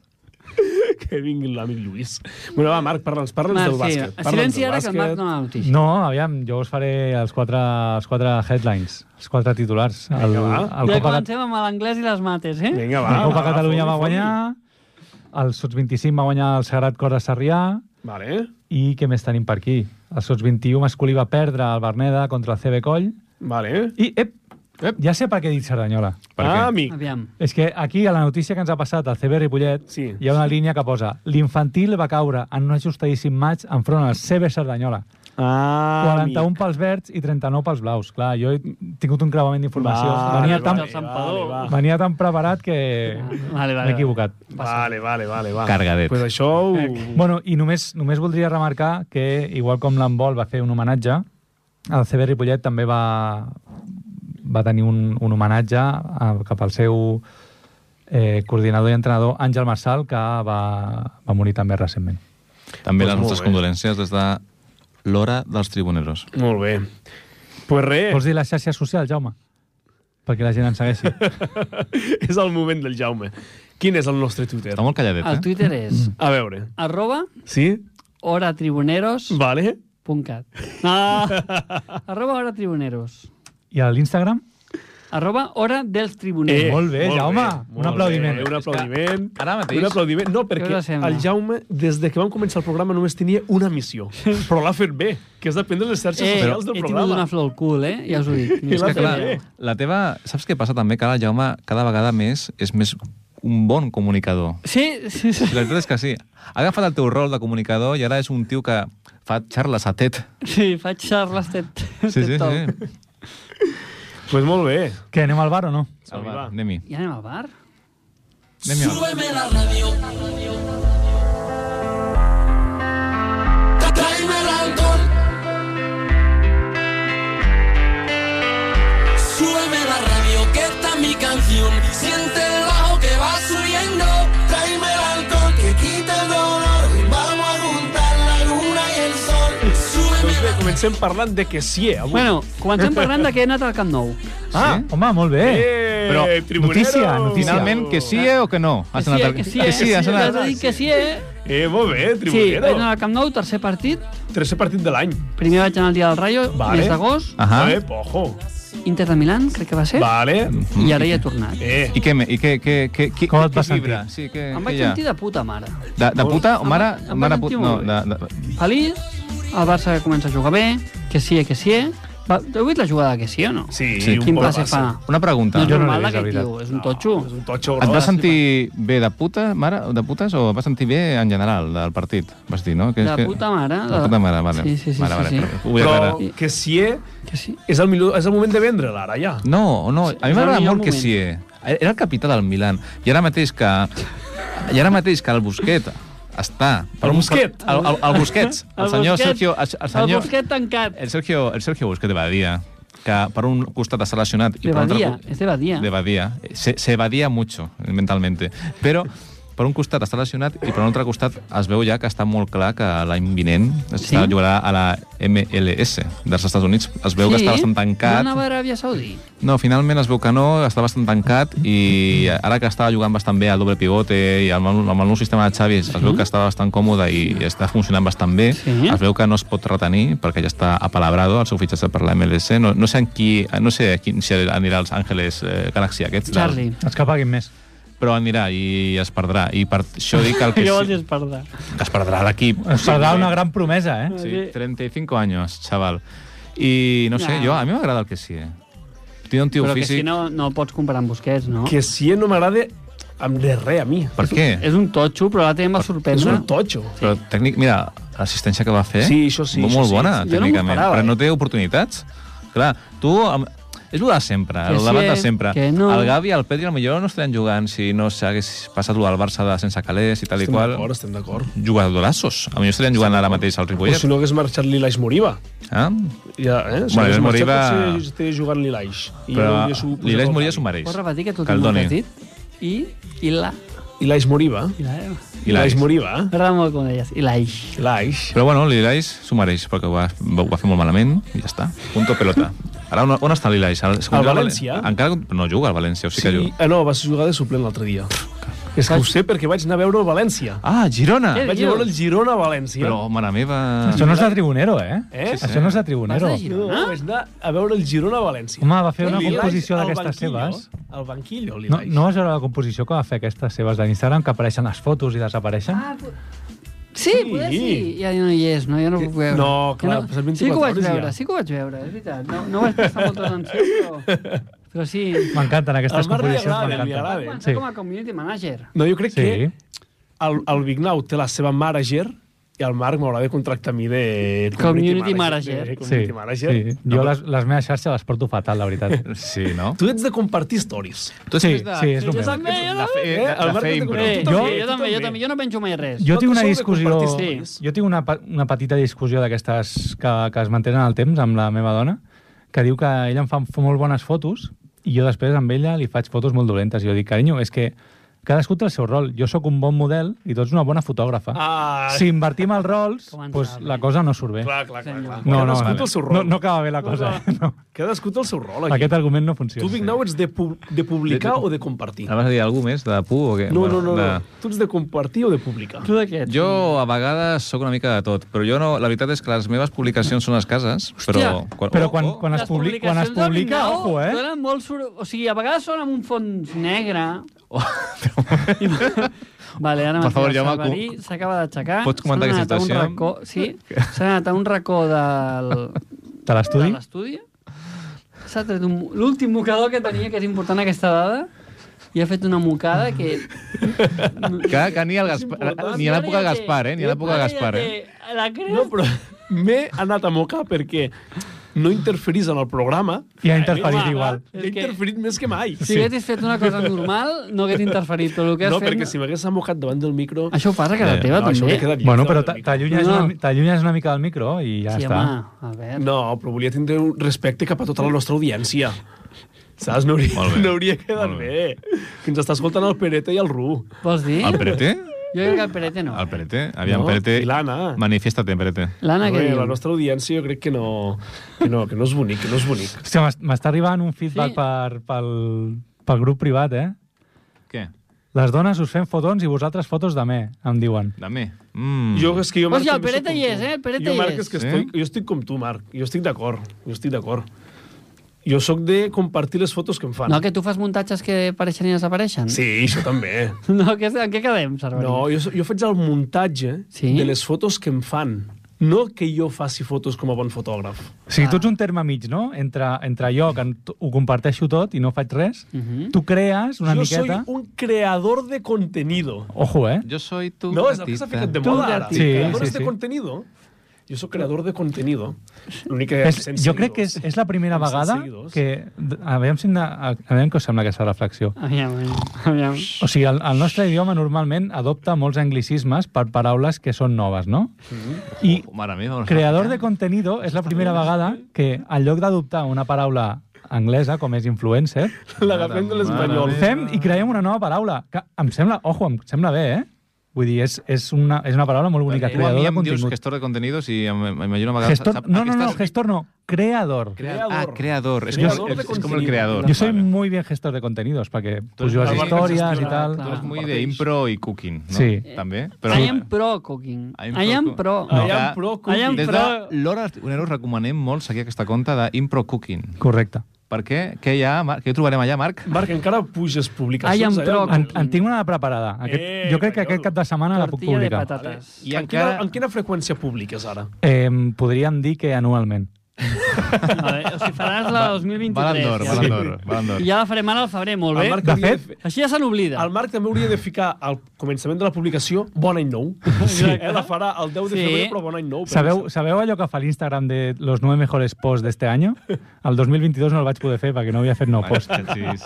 que vingui l'amic Lluís. Bueno, va, Marc, parla'ns, parla'ns Marc, del sí, bàsquet. Parla'ns silenci del ara que el Marc bàsquet. no ha notícia. No, aviam, jo us faré els quatre, els quatre headlines, els quatre titulars. El, Vinga, va. el ja Copa, Cat- comencem amb l'anglès i les mates, eh? Vinga, va. la Copa va, Catalunya va foli, foli. guanyar, el Sots 25 va guanyar el Sagrat Cor de Sarrià, Vale. i què més tenim per aquí? El Sots 21 masculí va perdre el Berneda contra el CB Coll, Vale. i ep, Ep. ja sé per què he dit Cerdanyola. Per què? ah, amic. Aviam. És que aquí, a la notícia que ens ha passat al CB Ripollet, Sí. hi ha una línia que posa l'infantil va caure en un ajustadíssim maig enfront al CB Cerdanyola. Ah, 41 pels verds i 39 pels blaus. Clar, jo he tingut un creuament d'informació. Vale, Venia, tan, vale, vale, Sampador. vale, Ah. va. venia tan preparat que Vale, vale. m'he equivocat. Vale, vale, vale, va. Eh, Cargadet. Pues això ho... Mm. Bueno, i només, només voldria remarcar que, igual com l'handbol va fer un homenatge, el CB Ripollet també va, va tenir un, un homenatge a, cap al seu eh, coordinador i entrenador, Àngel Marçal, que va, va morir també recentment. També Doncs les molt nostres bé. condolències des de l'hora dels tribuneros. Molt bé. Pues res, Vols dir les xarxes socials, Jaume? Perquè la gent ens segueixi. és el moment del Jaume. Quin és el nostre Twitter? Està molt calladet, El eh? Twitter és A veure. arroba Sí? horatribuneros.cat. Vale. No! Ah. Arroba horatribuneros. I a l'Instagram? Arroba hora dels tribuneros. Eh, molt bé, Jaume. Un aplaudiment. Bé, un aplaudiment. ara mateix- Un aplaudiment. No, Què perquè us sembla? el Jaume, des de que vam començar el programa, només tenia una missió. Però l'ha fet bé, que és d'aprendre les xarxes Eh, socials del he tingut una programa. flor al cul, eh? Ja us ho dic. I És que, l'ha fet clar, bé. la teva... Saps què passa també? Que ara el Jaume cada vegada més és més un bon comunicador. Sí, sí, sí. I La veritat és que sí. Ha agafat el teu rol de comunicador i ara és un tio que fa xarles a TED. Sí, faig xarles TED. Sí, sí, TED Talk. sí. Doncs pues molt bé. Que anem al bar o no? Salva, va. Anem-hi. I anem al bar? Anem-hi. home. Tráeme el alcohol. Súbeme la radio, que esta es mi canción. Siente el bajo que va subiendo. Tráeme el alcohol, que quite el dolor. Vamos a juntar la luna y el sol. Súbeme Doncs la bé, comencem parlant de que sí, eh, avui. Bueno, comencem parlant de que he anat al Camp Nou. Ah, home, molt bé. eh, però, tribunero! notícia, notícia. Finalment, que sí eh, o que no? Has Que sí, anat eh, al- que sí, eh? que sí, has Ja anat... us he dit que sí, eh? Eh, molt bé, Sí, tribunero. vaig anar al Camp Nou, tercer partit. Tercer partit de l'any. Primer vaig anar al dia del Rayo, Vale. mes d'agost, Ahà. Eh, ojo. Inter de Milán, crec que va ser, Vale. i ara hi he tornat. Eh, I què, me- i què, què, què, què, Com et què vas vibra? sentir? Sí, què, Em què vaig hi ha? sentir de puta mare. De, de puta o Em mare? vaig- em mare vaig puta? sentir No, molt de, bé. de, Feliç, el Barça comença a jugar bé, que sí, eh, que sí. eh. Va, heu vist la jugada que sí o no? sí, Sí. un Quin bon passe fa? Una pregunta. No és Jo no l'he normal vist, la d'aquest veritat. tio, és un totxo. És un totxo Et gros. vas sentir bé de puta, mare, o de putes, o et vas sentir bé en general del partit? Vas dir, no? Que, De puta mare, De de- puta mare, vale. Sí, sí, sí, vale, sí, vale, sí. però Ho vull Però aclarar. que sí, eh, Que sí. és el, millor, és el moment de vendre, ara, ja. No, no, a mi és el m'agrada millor molt que moment. sí. eh? Era el capità del Milan. I ara mateix que... I ara mateix que el Busquet està... per El un- Busquet? El, el, el Busquets. El, senyor Busquets- Sergio... El, el El senyor... Busquet tancat. El Sergio, el Sergio Busquet de Badia, que per un costat està lesionat... De per un altre Badia, cu- és de Badia. De Badía. Se, se evadía mucho mentalmente. Pero per un costat està lesionat i per un altre costat es veu ja que està molt clar que l'any vinent Sí? està, jugarà a la MLS dels Estats Units. Es veu que està bastant tancat. No anava a Aràbia Saudí. No, finalment es veu que no, està bastant tancat i ara que estava jugant bastant bé al doble pivote i amb el, amb el nou sistema de Xavi es veu que estava bastant còmode i està funcionant bastant bé, Sí. es veu que no es pot retenir perquè ja està apalabrado el seu fitxatge per la MLS. No, no sé en qui, no sé a quin, si anirà als Ángeles eh, Galaxy aquests. del- Charlie. Els Doncs que paguin més. Però anirà i es perdrà. I per això dic el que, Jo vols sí, espardar. que es perdrà l'equip. Ens perdrà una gran promesa, eh? Sí, 35 anys, xaval. I no sé, Ja. jo, a mi m'agrada el que sí. eh. Té un tio Però que físic... si no, no el pots comparar amb Busquets, no? Que si no m'agrada amb de res a mi. Per què? És un totxo, però l'altre dia em va És Ah. sorprendre. un totxo. Però tècnic, mira, l'assistència que va fer... Sí, això sí, Molt, això molt sí. bona, Jo no m'ho tècnicament. esperava, però eh? no té oportunitats. Clar, tu... Amb... És el de sempre, Que el sí, debat de eh? sempre. Que no. El Gavi i el Pedri millor no estarien jugant si no s'hagués passat lo del Barça de sense calés i tal i Estem qual. d'acord, estem d'acord. Jugadorazos. A millor estarien jugant ara mateix al O Ripollet. eh? si no hagués marxat l'Ilaix Moriba. Ah? Ja, eh? Si hagués Bueno, l'Ilaix marxat, Moriba- potser estaria jugant l'Ilaix. I Però hauria su- posat l'Ilex el Moria Gavi. s'ho mereix. Pots repetir que tu Que el el doni. has dit? I, i la... Ilaix Moriba. I la... Ilaix Ilaix. Moriba. eh? M'agrada molt com deies. I la ix. Ilaix. Però bueno, l'Ilaix s'ho mereix, perquè ho va, ho va fer molt malament i ja està. Punto pelota. Ara, on, on està l'Ilaix? Al Al València. Encara no juga al València, o sigui sí. que Sí, juga. ah, no, vas jugar de suplent l'altre dia. És que ho sé perquè vaig anar a veure el València. Ah, Girona! Eh, Vaig a veure el Girona a València. Però, mare meva... Això no és de tribunero, eh? Eh? Això no és de tribunero. Vas de gir- No, no, vaig anar a veure el Girona a València. Home, va fer una L'Ilaix composició al d'aquestes banquillo, seves. Al banquillo, No, l'Ilaix. no vas veure la composició que va fer aquestes seves de l'Instagram, que apareixen les fotos i desapareixen? Ah, Sí, poder sí. Ja no hi és, no? Ja no ho puc veure. No, clar, Ja passen 24 sí que ho vaig hores i veure, ja. sí que ho vaig veure, és veritat. No, no vaig prestar molta atenció, però... Però sí. M'encanten aquestes Al Marc li composicions, agrada, li m'encanten. agrada. Va bé. començar Sí. com a community manager. No, jo crec Sí. que el, el Vignau té la seva manager i el Marc m'haurà de contractar a mi de... Community manager. de Sí, community manager. sí. No, Jo però les, les meves xarxes les porto fatal, la veritat. Sí, no? Tu ets de compartir stories. Tu Sí, sí, és el meu. La fe, Eh, el la Marc no té fe impro. Eh, Eh, tu jo, també, jo, tu també, també. jo també, jo no penjo mai res. Jo No, tinc tu una sou de discussió... compartir stories. Jo tinc una, pe- una petita discussió d'aquestes que, que es mantenen al temps amb la meva dona, que diu que ella em fa, fa molt bones fotos i jo després amb ella li faig fotos molt dolentes. I jo dic, carinyo, és que cadascú té el seu rol. Jo sóc un bon model i tu ets una bona fotògrafa. Ah, Si invertim els rols, Com ens pues, sabe. la cosa no surt bé. clar, clar, clar. clar. No, no, Cadascú té no, el seu no, rol. no acaba bé la cosa. eh? No. Cadascú té el seu rol, aquí. Aquest argument no funciona. Tu, Vignau, ets de, pu de publicar o de compartir? Ara vas a dir algú més, de pu o què? No, no, no, De... no. Tu ets de compartir o de publicar? Tu d'aquest. Jo a vegades sóc una mica de tot, però jo no, la veritat és que les meves publicacions són escases, però... Hòstia! Quan, Però quan, oh, quan, es, publi quan es publica, ojo, eh? Donen molt sor... O sigui, a vegades són amb un fons negre. Oh, Vale, ara Per mateix favor, el Jaume, Salvarí s'acaba d'aixecar. pots comentar S'han anat aquesta a un situació? Racó, sí, s'ha anat a un racó del, Te de l'estudi? l'estudi. S'ha tret un... l'últim mocador que tenia, que és important aquesta dada, i ha fet una mocada que... que, que ni, el Gaspar, ni a l'època Gaspar, eh? Ni a l'època Gaspar, eh? eh? La creu... No, però m'he anat a mocar perquè no interferís en el programa. I ha interferit Home, igual. He És que- interferit més que mai. Si haguessis fet una cosa normal, no hagués interferit. Però el que has No, fet... perquè si m'hagués amocat davant del micro... Això ho fas a casa Eh, teva, no, això també? m'he quedat eh, Bueno, però lluny del micro. t'allunyes No. una, mi- t'allunyes una mica del micro i ja sí, està. home, Albert. No, però volia tindre un respecte cap a tota la nostra audiència. Saps? No hauria, Molt bé. no hauria quedat Molt bé. Que ens està escoltant el Pereta i el Ru. Vols dir? El Perete? Jo crec que el Perete no. El Perete? Aviam, No, Perete... i l'Anna. Manifiesta't, Perete. L'Anna que Bé, diu. la nostra audiència jo crec que no, que no, que no és bonic, que no és bonic. Hòstia, m'es- m'està arribant un feedback Sí. sí. per, pel, pel grup privat, eh? Què? Les dones us fem fotons i vosaltres fotos de me, em diuen. Dame. Mm. Jo, és que jo, Marc, Hòstia, el també soc Pereta com hi és, tu. eh? El Pereta jo, hi Marc, és. és que Sí? estic, jo estic com tu, Marc. Jo estic d'acord. Jo estic d'acord. Jo sóc de compartir les fotos que em fan. No, que tu fas muntatges que apareixen i desapareixen? Sí, això també. No, que, en què quedem, Cerveri? No, jo, so- jo faig el muntatge Sí? de les fotos que em fan. No que jo faci fotos com a bon fotògraf. O sigui, tu ets un terme mig, no? Entre, entre jo, que en- ho comparteixo tot i no faig res, Mhm. tu crees una jo soy miqueta... un creador de contenido. Ojo, eh? Jo soy tu No, és el que s'ha ficat de Tu moda ara. gatita. Sí, Creadores sí, de sí. contenido. Jo sóc creador de contenido. L'únic que... És, sense jo crec que és, seguidors. és la primera Sense vegada seguidors. que... A veure, si hem de, a veure què us sembla aquesta reflexió. Aviam, aviam. O sigui, el, el nostre idioma normalment adopta molts anglicismes per paraules que són noves, no? Mhm. I Oh, mare meva. creador de contenido és la primera vegada que, en lloc d'adoptar una paraula anglesa, com és influencer, L'agafem de l'espanyol. Mare fem i creem una nova paraula, que em sembla, ojo, em sembla bé, eh? Vull dir, és, és, una, és una paraula molt bonica, Tu a mi creador de em dius contingut. gestor de continguts i em- m'imagino a vegades... Gestor, sap- no, no, no, aquestes- gestor no, creador. Creador. Ah, creador. Es, Creador como, de es- es como el contenido. creador. Yo soy Vale. muy bien gestor de contenidos, para que pues, yo las Ah, vale. historias y Gestora, tal. Tú eres claro. muy de impro y cooking, ¿no? Sí. També. Però... I am pro cooking. I am I am pro pro. No. I I am am I pro am cooking. Des de pro... l'hora us recomanem molt seguir aquesta conta d'impro cooking. Correcte. Per què? Què hi ha, Marc? Què trobarem allà, Marc? Marc, encara puges publicacions. Ai, em troc. En, en tinc una preparada. Aquest, Eh, jo crec que senyor. aquest cap de setmana la puc Tortilla de publicar. patates. I en, quina, en quina freqüència publiques ara? Eh, podríem dir que anualment. Vale, o sigui, faràs la 2023. Balandor, ja. Balandor, Balandor. I ja la farem ara, el febrer, molt El bé. Marc De hauria fet, fer- Així ja se n'oblida. El Marc també hauria de ficar al començament de la publicació Bon any nou. Sí. Eh, la farà el 10 de Sí. febrer, però Bon any nou. Sabeu, sabeu allò que fa l'Instagram de los nueve mejores posts d'este any? El 2022 no el vaig poder fer perquè no havia fet nou post. Post. pues,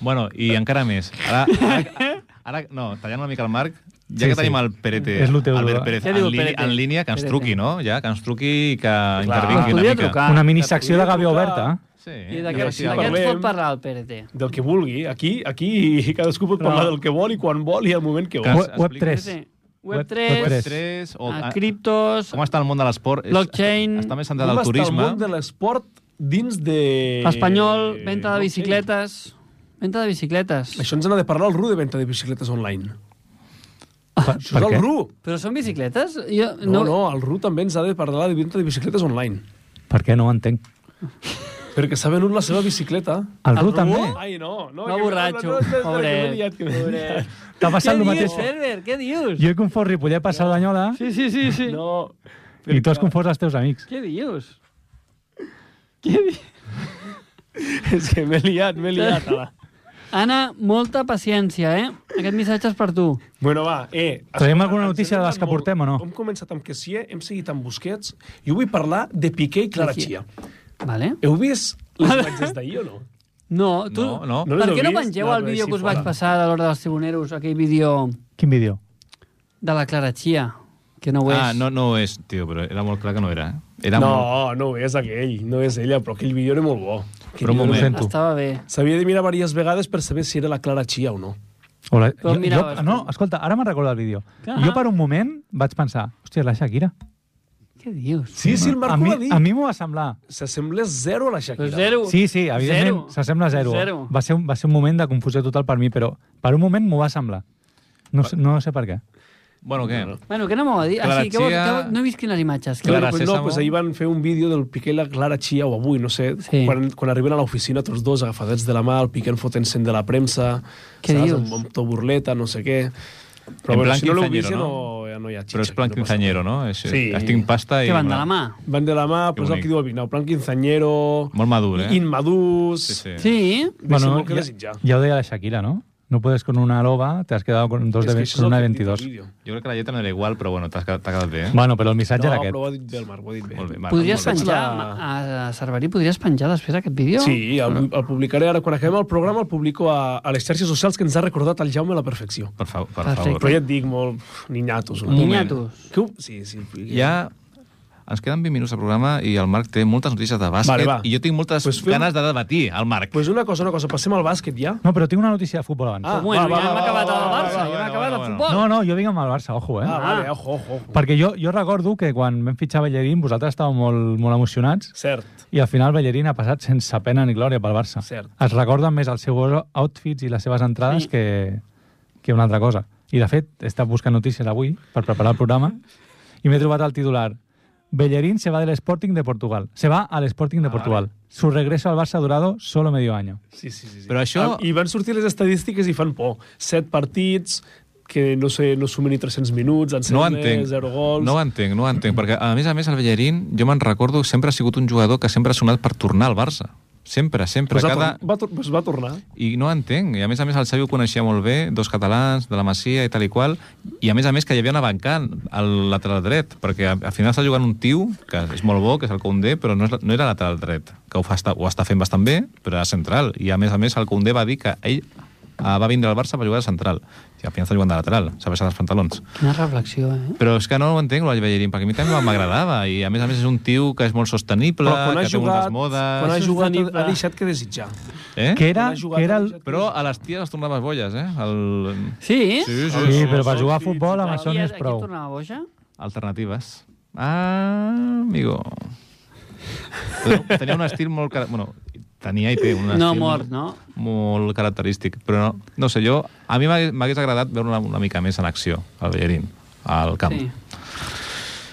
Bueno, i encara més. Ara, ara, ara no, tallant una mica el Marc, ja Sí, que tenim sí. el Perete, És lo teu, Albert no? Pérez, Què en, diu el línia, Perete? en línia, que ens Perete. truqui, no? Ja, que ens truqui i que intervingui una podria mica. trucar. Una minissecció de Gavi Oberta. eh? Sí, I Ja d'aquest sí, d'aquest parlem. pot parlar el PRT. Del que vulgui. Aquí, aquí cadascú pot parlar Però- del que vol i quan vol i al moment que vol. Cas- Web, web 3. PRT. Web Web 3, tres. 3 o... a criptos... Com està el món de l'esport? És- Blockchain. Està més Com centrat al està el turisme. món de l'esport dins de... Espanyol, venda de no sé. bicicletes... Venta de bicicletes. Això ens n'ha de parlar el Ru de venda de bicicletes online. Per, Això és el Ru. Però són bicicletes? Jo, No, no, el Ru també ens ha de parlar de venda de bicicletes online. per què no ho entenc? Perquè s'ha venut la seva bicicleta. El El Ru Ru? també. Ai, no. no Va que- borratxo, no, no, no, no, pobret. que m'he liat, que m'he liat. T'ha Què passat el dius, mateix. Ferber? Què dius? Jo he confós Ripollet per Cerdanyola Sí, sí, sí, sí. No, i tu has confós els teus amics. Què dius? Què dius? és que m'he liat, m'he liat. Ara. Anna, molta paciència, eh? Aquest missatge és per tu. Bueno, va, eh... Traiem escolta, alguna ens notícia de hem les que anat molt. portem o no? Hem començat amb Kessier, hem seguit amb Busquets, i vull parlar de Piqué i Clara Kessié. Chia. Vale? Heu vist les imatges d'ahir o no? No, tu... No, no. No les per heu què no vist? pengeu No, el no, vídeo sí, que us vaig fora. passar de l'hora dels tribuneros, aquell vídeo Quin vídeo? de la Clara Chia, que no ho és? Ah, no, no ho és, tio, però era molt clar que no era. eh? Era molt... No, no és aquell, no és ella, però aquell vídeo era molt bo. Aquell Però un vídeo moment. era molt tu. Estava bé. bo. S'havia de mirar diverses vegades per saber si era la Clara Chia o no. Hola, Però mira, vas no, tu. escolta, ara me'n recordo el vídeo. Clar. Jo per un moment vaig pensar, hòstia, la Shakira. Què dius? Sí, sí, el a Marco mi, va dir. a mi m'ho va semblar. S'assembla zero a la Shakira. Però zero. Sí, sí, Zero. evidentment, s'assembla a zero. Zero. Va, ser un, va ser un moment de confusió total per mi, però per un moment m'ho va semblar. No, sé- no sé per què. Bueno, què? Bueno, què no m'ho va dir? Clara Així, que, vols, Chia- que vols- no he vist quines imatges. Que... Clara Clara, pues no, Sésamo. pues ahir van fer un vídeo del Piqué i la Clara Chia, o avui, no sé, Sí. sí. quan, quan arriben a l'oficina tots dos agafadets de la mà, el Piqué en fotent cent de la premsa, Què saps, dius? amb, amb to burleta, no sé què... Però En bueno, plan si no l'heu vist, quinceañero, ja no, no? ja no hi ha xitxa. Però és plan aquí, no passa quinceanyero, no? És, Sí. es tinc pasta i... Que van de la mà. res. Van de la mà, Que pues el bonic. que diu el Vinau, plan quinceanyero, Molt madur, eh? inmadurs... Sí, sí. Sí? Deixa molt que desitjar. ja ho deia la Shakira, no? No puedes con una loba, te has quedado con, dos És de, que ve- això és con el una que de hem dit al 22. vídeo. Jo crec que la lletra no era igual, però bueno, t'has quedat t'ha quedat bé, eh? Bueno, però el missatge No, era aquest. però ho ha dit bé el Marc, ho ha dit bé. Molt bé, Marc, Podries molt bé. penjar, a La- a Cerverí, podries penjar després aquest vídeo? Sí, el, el publicaré ara. Quan acabem el programa el publico a, a les xarxes socials que ens ha recordat el Jaume a la perfecció. Per, fa, per Perfecte. favor. Però ja et dic, molt ninyatos. Un Una. moment. Niñatos. Que ho- Sí, sí. Ja ens queden 20 minuts de programa i el Marc té moltes notícies de bàsquet Vale, va. i jo tinc moltes Pues pues fem- ganes de debatir al Marc. Pues una cosa, una cosa, passem al bàsquet ja. No, però tinc una notícia de futbol abans. Ah, Bueno, va, va, ja hem va, va, acabat va, el va, va, Barça, va, ja hem bueno, acabat el bueno. futbol. No, no, jo vinc amb el Barça, ojo, eh? Ah, vale, ojo, ojo, ojo. Perquè jo, jo recordo que quan vam fitxar Bellerín vosaltres estàveu molt, molt emocionats Cert. i al final Bellerín ha passat sense pena ni glòria pel Barça. Cert. Es recorden més els seus outfits i les seves entrades sí. que, que una altra cosa. I de fet, he estat buscant notícies avui per preparar el programa i m'he trobat el titular Bellerín se va del Sporting de Portugal. Se va al Sporting de Portugal. Su regreso al Barça ha durado solo medio año. Sí, sí, sí. sí. Però això- I van sortir les estadístiques i fan por. Set partits, que no sé, no sumen ni 300 minuts, en No ho entenc. entenc. zero gols... No ho entenc, no ho entenc, perquè a més a més el Bellerín, jo me'n recordo, sempre ha sigut un jugador que sempre ha sonat per tornar al Barça. Sempre, sempre. pues, va, cada... tor- va, tor- pues va tornar. I no ho entenc. I a més a més el Xavi ho coneixia molt bé, dos catalans, de la Masia i tal i qual, i a més a més que hi havia una bancant al lateral dret, perquè a- al final està jugant un tiu, que és molt bo, que és el Condé, però no, és, la- no era lateral dret, que ho, fa, està, ho està fent bastant bé, però era central. I a més a més el Condé va dir que ell eh, va vindre al Barça per jugar de central. I al final està jugant de lateral, s'ha baixat els pantalons. Quina reflexió, eh? Però és que no ho entenc, el Ballerín, perquè a mi també m'agradava, i a més a més és un tio que és molt sostenible, Però quan ha que té jugat, moltes quan modes... ha jugat Sostenible. ha deixat que desitjar. Eh? Que era, Quan ha jugat que era a el... Richard- Però a les ties les tornaves bolles, eh? El... Sí? Sí, sí, Sí, sí. però per jugar a futbol amb això I no és aquí prou. tornava boja? Alternatives. Ah, amigo. Tenia un estil molt... Car... Bueno, tenia i té un estil... No, mort, no? molt característic, però no, no sé, jo, a mi m'hagués m'hagués agradat veure una, una mica més en acció, el Bellerín, al camp. Sí.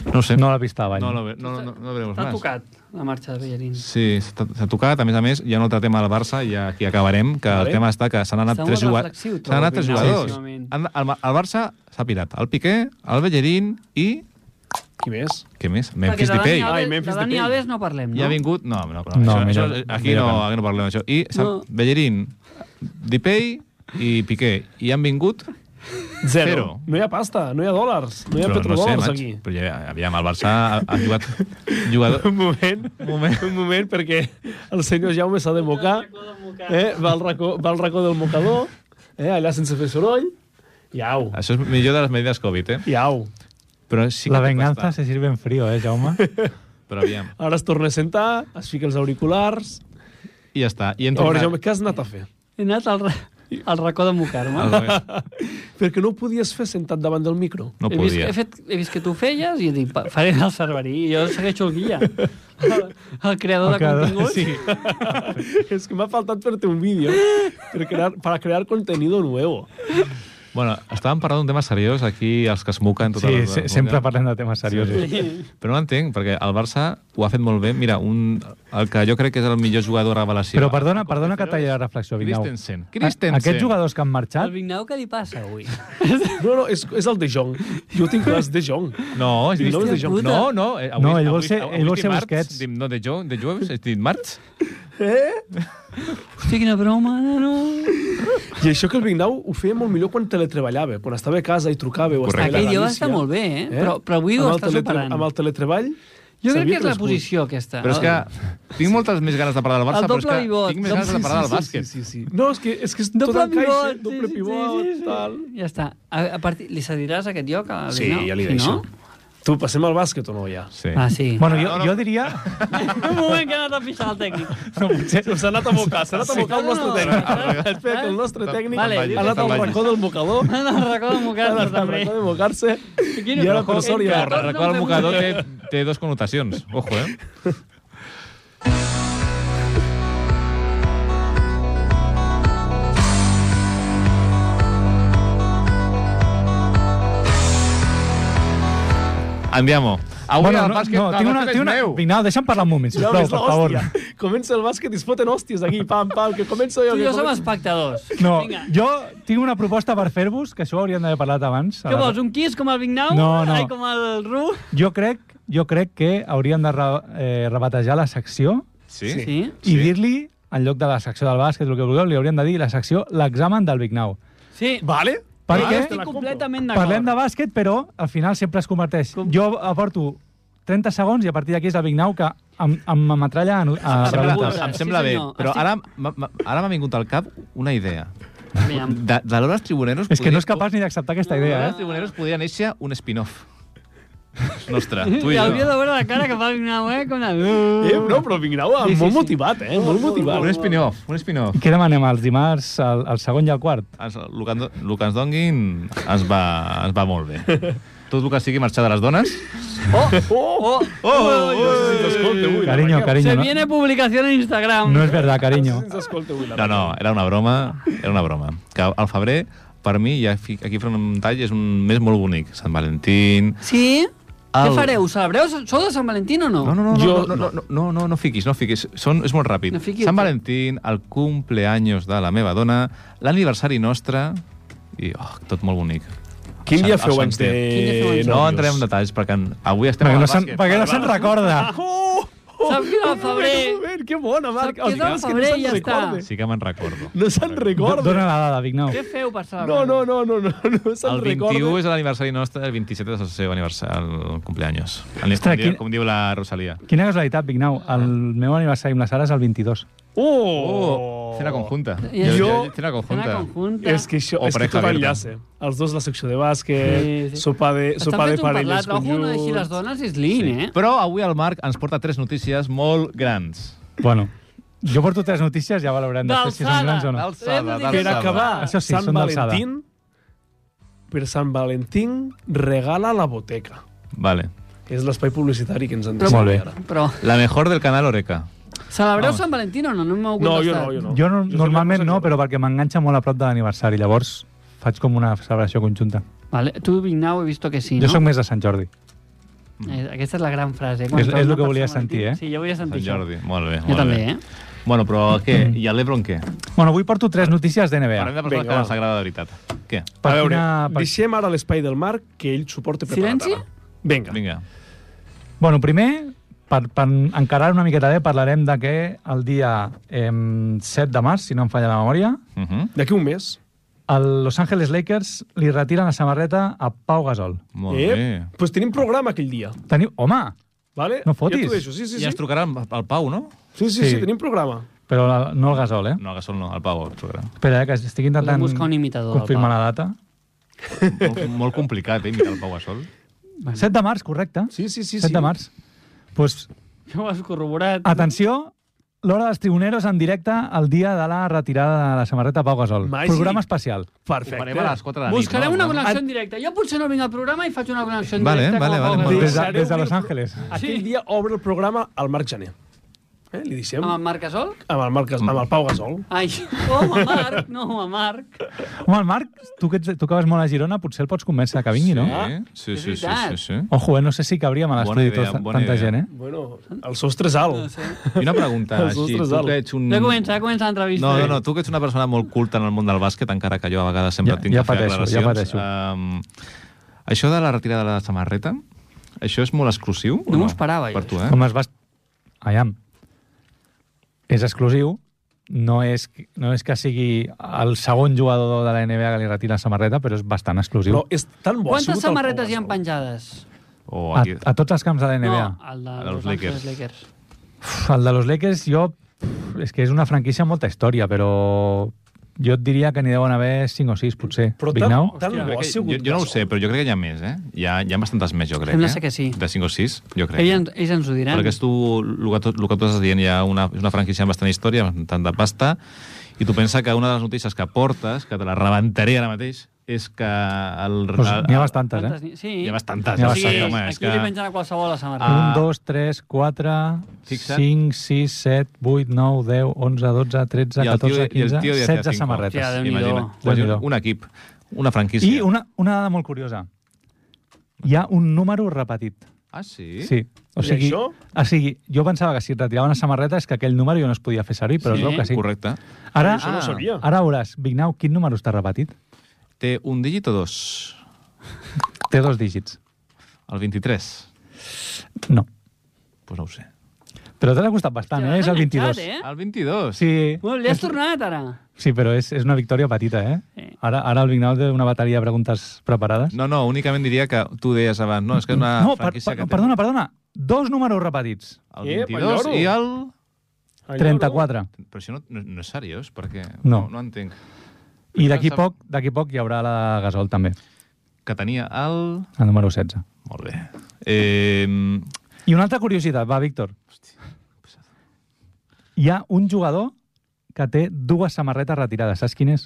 No ho sé. No la pista de ball. no, lo ve- no, no, no, veurem T'ha més. tocat la marxa de Bellerín. Sí, s'ha s'ha tocat. A més a més, hi ha un altre tema del Barça i aquí acabarem, que el tema està que s'han anat Està tres, molt jugua- reflexiu, s'han anat trobo, tres Vinal, jugadors. últimament. Han- El, el Barça s'ha pirat. El Piqué, el Bellerín i... Qui més? Què més? Perquè Memphis de Dani Depay. Ai, Alves, de Memphis Dani Depay. Alves no parlem, no? Ja ha vingut... No, no, no, No, això, mira, això, aquí, mira no, que no. aquí no parlem d'això. I no. No. Bellerín, Depay i Piqué. I han vingut... Zero. Zero. No hi ha pasta, no hi ha dòlars, no hi ha no sé, petrodòlars maig, aquí. Però ja, aviam, el Barça ha, ha jugat... jugador... Un moment, un moment, un moment, perquè el senyor Jaume s'ha de mocar, eh? va, al racó, va al racó del mocador, eh? allà sense fer soroll, i au, Això és millor de les medidas Covid, eh? i au. Però sí que La té venganza costa. se sirve en frío, eh, Jaume? Però aviam. Ara es torna a sentar, es fica els auriculars... I ja està. I hem A veure, tornat- Jaume, què has anat a fer? He anat al, ra- al racó de mocar-me. Al revés. Perquè no ho podies fer sentat davant del micro. No he, vist, podia. he, fet, he vist que tu feies i he dit, "Pa- faré el cerverí i jo segueixo el guia. El, el creador El de creador, continguts. sí. És que m'ha faltat fer-te un vídeo per crear, para crear contenido nuevo. Bueno, estàvem parlant d'un tema seriós aquí, els que es muquen totes Sí, les... se, sempre parlem de temes seriosos. Però no entenc, perquè el Barça ho ha fet molt bé. Mira, un, el que jo crec que és el millor jugador revelació. Però perdona, perdona que talli la reflexió, Vignau. Christensen. A- Christensen. Aquests jugadors que han marxat... El Vignau què li passa avui? No, no, és, és el De Jong. Jo tinc clar, és De Jong. No, és Hòstia no, de Jong. puta. No, no. eh, Avui, No, ell vol ser- ell vol ser dimarts, Busquets. dim- No, de Jong, de Jong, és dit Marts. Hòstia, quina broma, no? I això que el Vignau ho feia molt millor quan teletreballava, quan estava a casa i trucava. O estava Correcte. a Aquell dia va Galícia. estar molt bé, eh? Però, però avui ho Amb el està teletre- superant. Amb el teletreball... Jo crec s'havia que és la crescut. posició, aquesta. Ah. Però és que tinc moltes més ganes de parlar del Barça, El però és doble que pivot. tinc més Doble- ganes de parlar del bàsquet. Sí, sí, sí. No, és que és, que és tot Doble encaixa, pivot, doble pivot, tal... Ja està. A, a partir, li cediràs aquest lloc a Sí, Vignau? ja li Si deixo. no? Tu, passem al bàsquet o no, ja? Sí. Ah, sí. Bueno, jo, jo diria... Un moment que ha anat a pixar el tècnic. No, potser, S'ha anat a mocar, s'ha anat a mocar el No, no, nostre no. tècnic. Espera, que el nostre tècnic Vale. ha anat al racó del mocador, No, no, recorda ha mocar-se, anat al també. racó de mocar-se, Aquí no i ara racó, per sort ja... entre tots. Recorda, el mocador té, té dos connotacions. Ojo, eh? Andiamo. Avui Ah, bueno, el no, bàsquet... no, tinc una... Tinc una... Vignau, deixa'm parlar un moment, Ja sisplau, ves per favor. l'hòstia. Comença el bàsquet i es foten hòsties aquí, pam, pam, que començo jo. Tu i que jo som començo- espectadors. No, Vinga. jo tinc una proposta per fer-vos, que això ho hauríem d'haver parlat abans. a Què la- vols, un quiz com el Vignau? No, no. Ai, com el Ru? Jo crec, jo crec que hauríem de re, eh, rebatejar la secció Sí? Sí. i dir-li, en lloc de la secció del bàsquet, el que vulgueu, li hauríem de dir la secció l'examen del Vignau. Sí. Ah, Vale? Per Jo què? estic completament d'acord. Parlem de bàsquet, però al final sempre es converteix. Jo aporto 30 segons i a partir d'aquí és el Vignau que em, em ametralla a, a Em sembla, preguntes. em sembla Sí, bé, senyor. però Estic- ara m'ha- m'ha- ara m'ha vingut al cap una idea. Aviam. De, de l'hora dels tribuneros... És que no és podria- capaç ni d'acceptar aquesta De l'hora idea, dels eh? tribuneros podria néixer un spin-off. Nostre, tu Tu i ja hauria de jo. veure la cara que fa el Vignau, eh? Com Eh, Ah. una... no, però Vignau, sí, molt motivat, eh? Molt Oh, motivat. Un spin-off, un spin-off. eh? Què demanem els dimarts, el, el segon i el quart? Es, el, que, en- el que ens donguin ens va, ens va molt bé. Tot el que sigui marxar de les dones... Oh, oh, oh, Escolta, ui, Carinyo, Se carinyo. No, viene publicació en Instagram. no és verdad, carinyo. Escolta, ui, No, no, era una broma, era una broma. Que al febrer, per mi, ja fi- aquí fent un tall és un mes molt bonic. Sant Valentín... Sí? Què Al- fareu? Celebreu? Sou de Sant Valentí o no? No, no, no, Jo- no, no, no, no, no, no fiquis, no fiquis. Són, és molt ràpid. No fiquis. eh? Sant Valentín, el cumpleaños de la meva dona, l'aniversari nostre... I, oh, tot molt bonic. Quin dia El feu anys de... Santiago. Quin dia feu anys? No nòvios? entrarem en detalls, perquè en- avui estem Perquè al no se'n bàsquet. perquè no se'n recorda. Oh! oh, Saps que és el un moment, febrer? un moment, Que bona, Marc. Saps que és el Els que febrer no se'n i ja està. recorde. Sí que me'n recordo. No se'n Do- recorda. Dona la dada, Vignau. Què feu per celebrar? No, no, no, no, no, no se'n El 21 recorda. és l'aniversari nostre, el 27 és el seu aniversari, el cumpleaños. El, Ostres, com, diu, quin- com diu la Rosalia. Quina casualitat, Vignau. El meu aniversari amb la Sara és el 22. Oh! Cena conjunta. I és- Jo- Jo- Cena conjunta. Cena conjunta. És que això, O és que pareja tot abierta. enllaça. Els dos, la secció de bàsquet, Sí, sí, sí. sí. sopa de, Estan sopa de fets un parelles parlat. Ojo, no així les conjunts... dones és lean, eh? Però avui el Marc ens porta tres notícies molt grans. Bueno, jo porto tres notícies, ja valorem després si són grans o no. D'alçada, Per d'alçada. acabar, Això sí, Sant són d'alçada. Valentín, per Sant Valentín, regala la boteca. Vale. És l'espai publicitari que ens han Però, dit. Molt bé. ara. Però La mejor del canal Oreca. celebreu Vamos. Sant Valentí o no? No m'heu No, jo contestat. no, jo no. Jo no, sé normalment una no, cosa que però perquè m'enganxa molt a prop de l'aniversari, llavors faig com una celebració conjunta. Vale. Tu, Vignau, he vist que sí, Jo no? sóc més de Sant Jordi. Eh, Aquesta és la gran frase. És- trobes és lo una que volia persona sentir, antiga- eh? Sí, jo volia sentir Sant això. Jordi. Molt bé, molt Jo també, bé. eh? Mm-hmm. Bueno, però què? I el Lebron què? Bueno, avui porto tres notícies de Parlem NBA. de persones Vinga, que va. ens agrada de veritat. Què? Per A veure, quina- per- deixem ara l'espai del Marc, que ell s'ho porta preparat. Silenci? ara. Vinga. Vinga. Bueno, primer, per, per encarar una miqueta bé, parlarem de que el dia eh, 7 de març, si no em falla la memòria, Uh -huh. D'aquí un mes. el Los Angeles Lakers li retiren la samarreta a Pau Gasol. Molt Ep, bé. Eh? pues tenim programa aquell dia. Teniu... Home! Vale? No fotis. Ja t'ho deixo. Sí, sí, I sí. ens trucarà el, el Pau, no? Sí, sí, Sí. sí, tenim programa. Però la, no el Gasol, eh? No, el Gasol no, el Pau el trucarà. Espera, eh, que estic intentant Podem buscar un imitador del confirmar Pau. la data. molt, molt complicat, eh, imitar el Pau Gasol. 7 de març, correcte. Sí, sí, sí. 7 sí. de març. Doncs Pues, Jo ho has corroborat. atenció, l'hora dels tribuneros en directe el dia de la retirada de la samarreta Pau Gasol. Màgic. Programa especial. Ho Perfecte. farem a les 4 de la nit. Buscarem no? una connexió en directe. Jo potser no vinc al programa i faig una connexió en Vale, directe. vale, com a vale, Pau Gasol. molt Des de, Deixareu des de obrir Los el Angeles. Aquell dia obre el programa al Marc Jané. Eh? Li deixem Ah. Amb amb el Marc Gasol? el, Marc, Gas- amb el Pau Gasol. Ai, oh, a Marc, no, a Marc. Home, el Marc, tu que, ets, tu que vas molt a Girona, potser el pots convèncer que vingui, no? Sí, És sí, sí, sí, veritat. sí, sí. Ojo, eh, no sé si cabríem a Bona l'estudi idea, tota- bona tanta idea. gent, eh? Bueno, el sostre és alt. No sé. I una pregunta, Els així, ostres tu alt. que ets un... Ja comença, ja comença l'entrevista. Mm. No, no, no, tu que ets una persona molt culta en el món del bàsquet, encara que jo a vegades sempre Ja- tinc ja que fer pateixo, ja aclaracions. pateixo. Um, això de la retirada de la samarreta, això és molt exclusiu? o No m'ho esperava, Per jo, tu, Eh? eh? Com es vas... Aviam. És exclusiu. No és, no és que sigui el segon jugador de la NBA que li retira la samarreta, però és bastant exclusiu. Però és tan bo. ha sigut Quantes el samarretes Pau hi ha Gasol. penjades? O A, aquí... a tots els camps de la NBA. No, el de Els los Lakers. Angeles Lakers. Uf, El de los Lakers, jo... pff, És que és una franquícia amb molta història, però jo et diria que n'hi deuen haver 5 o 6, potser. Però Big tan, Now? tan Jo, bo crec ha que, jo, sigut jo no ho Gasol. sé, però jo crec que hi ha més, eh? Hi ha, hi ha bastantes més, jo crec. Sembla eh? ser que sí. De 5 o 6, jo crec. Ells, ens- ells ens ho diran. Perquè és tu, el que, tu- el que tu estàs dient, hi ha una, és una franquícia amb bastant història, bastant de pasta, i tu pensa que una de les notícies que portes, que te la rebentaré ara mateix, és que el... Pues, el- N'hi ha bastantes, Quantes eh? n'hi- Sí. Hi ha bastantes. N'hi ha o sigui, bastantes, home, és aquí que- li mengen a qualsevol la samarreta. Ah. Ah. 1, 2, 3, 4, Fixa't. 5, 6, 7, 8, 9, 10, 11, 12, 13, I el tio- 14, i el 15, tio ja té 16 cinco. samarretes. Hòstia, Déu-n'hi-do. Imagina't. Déu-n'hi-do. Un equip, una franquícia. I una, una dada molt curiosa. Hi ha un número repetit. Ah, sí? Sí. sí. O I sigui, això? o sigui, jo pensava que si et retiraven la samarreta és que aquell número jo no es podia fer servir, però Sí. sí. es veu que sí. Correcte. Ah, Ara, Això no ho sabia. ara veuràs, Vignau, quin número està repetit? Té un dígit o dos? Té dos dígits. El 23? No. Pues no ho sé. Però t'has acostat bastant, Te eh? És el l'has enganxat, 22. Eh? El 22? Sí, Bueno, li has tornat, ara. sí, però és, és una victòria petita, eh? Sí. Ara, ara el Vignau té una bateria de preguntes preparades. No, no, únicament diria que tu deies abans, no, és que és una no per, franquícia per, Ah, que té... perdona, perdona. Dos números repetits. El Eh, Ep, 22 el i el... Allò, 34. Però això no, no, no és seriós, perquè No. no, no entenc. I d'aquí poc, d'aquí poc hi haurà la de Gasol, també, Que tenia el... el número 16. Molt bé. Eh, I una altra curiositat, va, Víctor. Hi ha un jugador que té dues samarretes retirades. Saps quin és?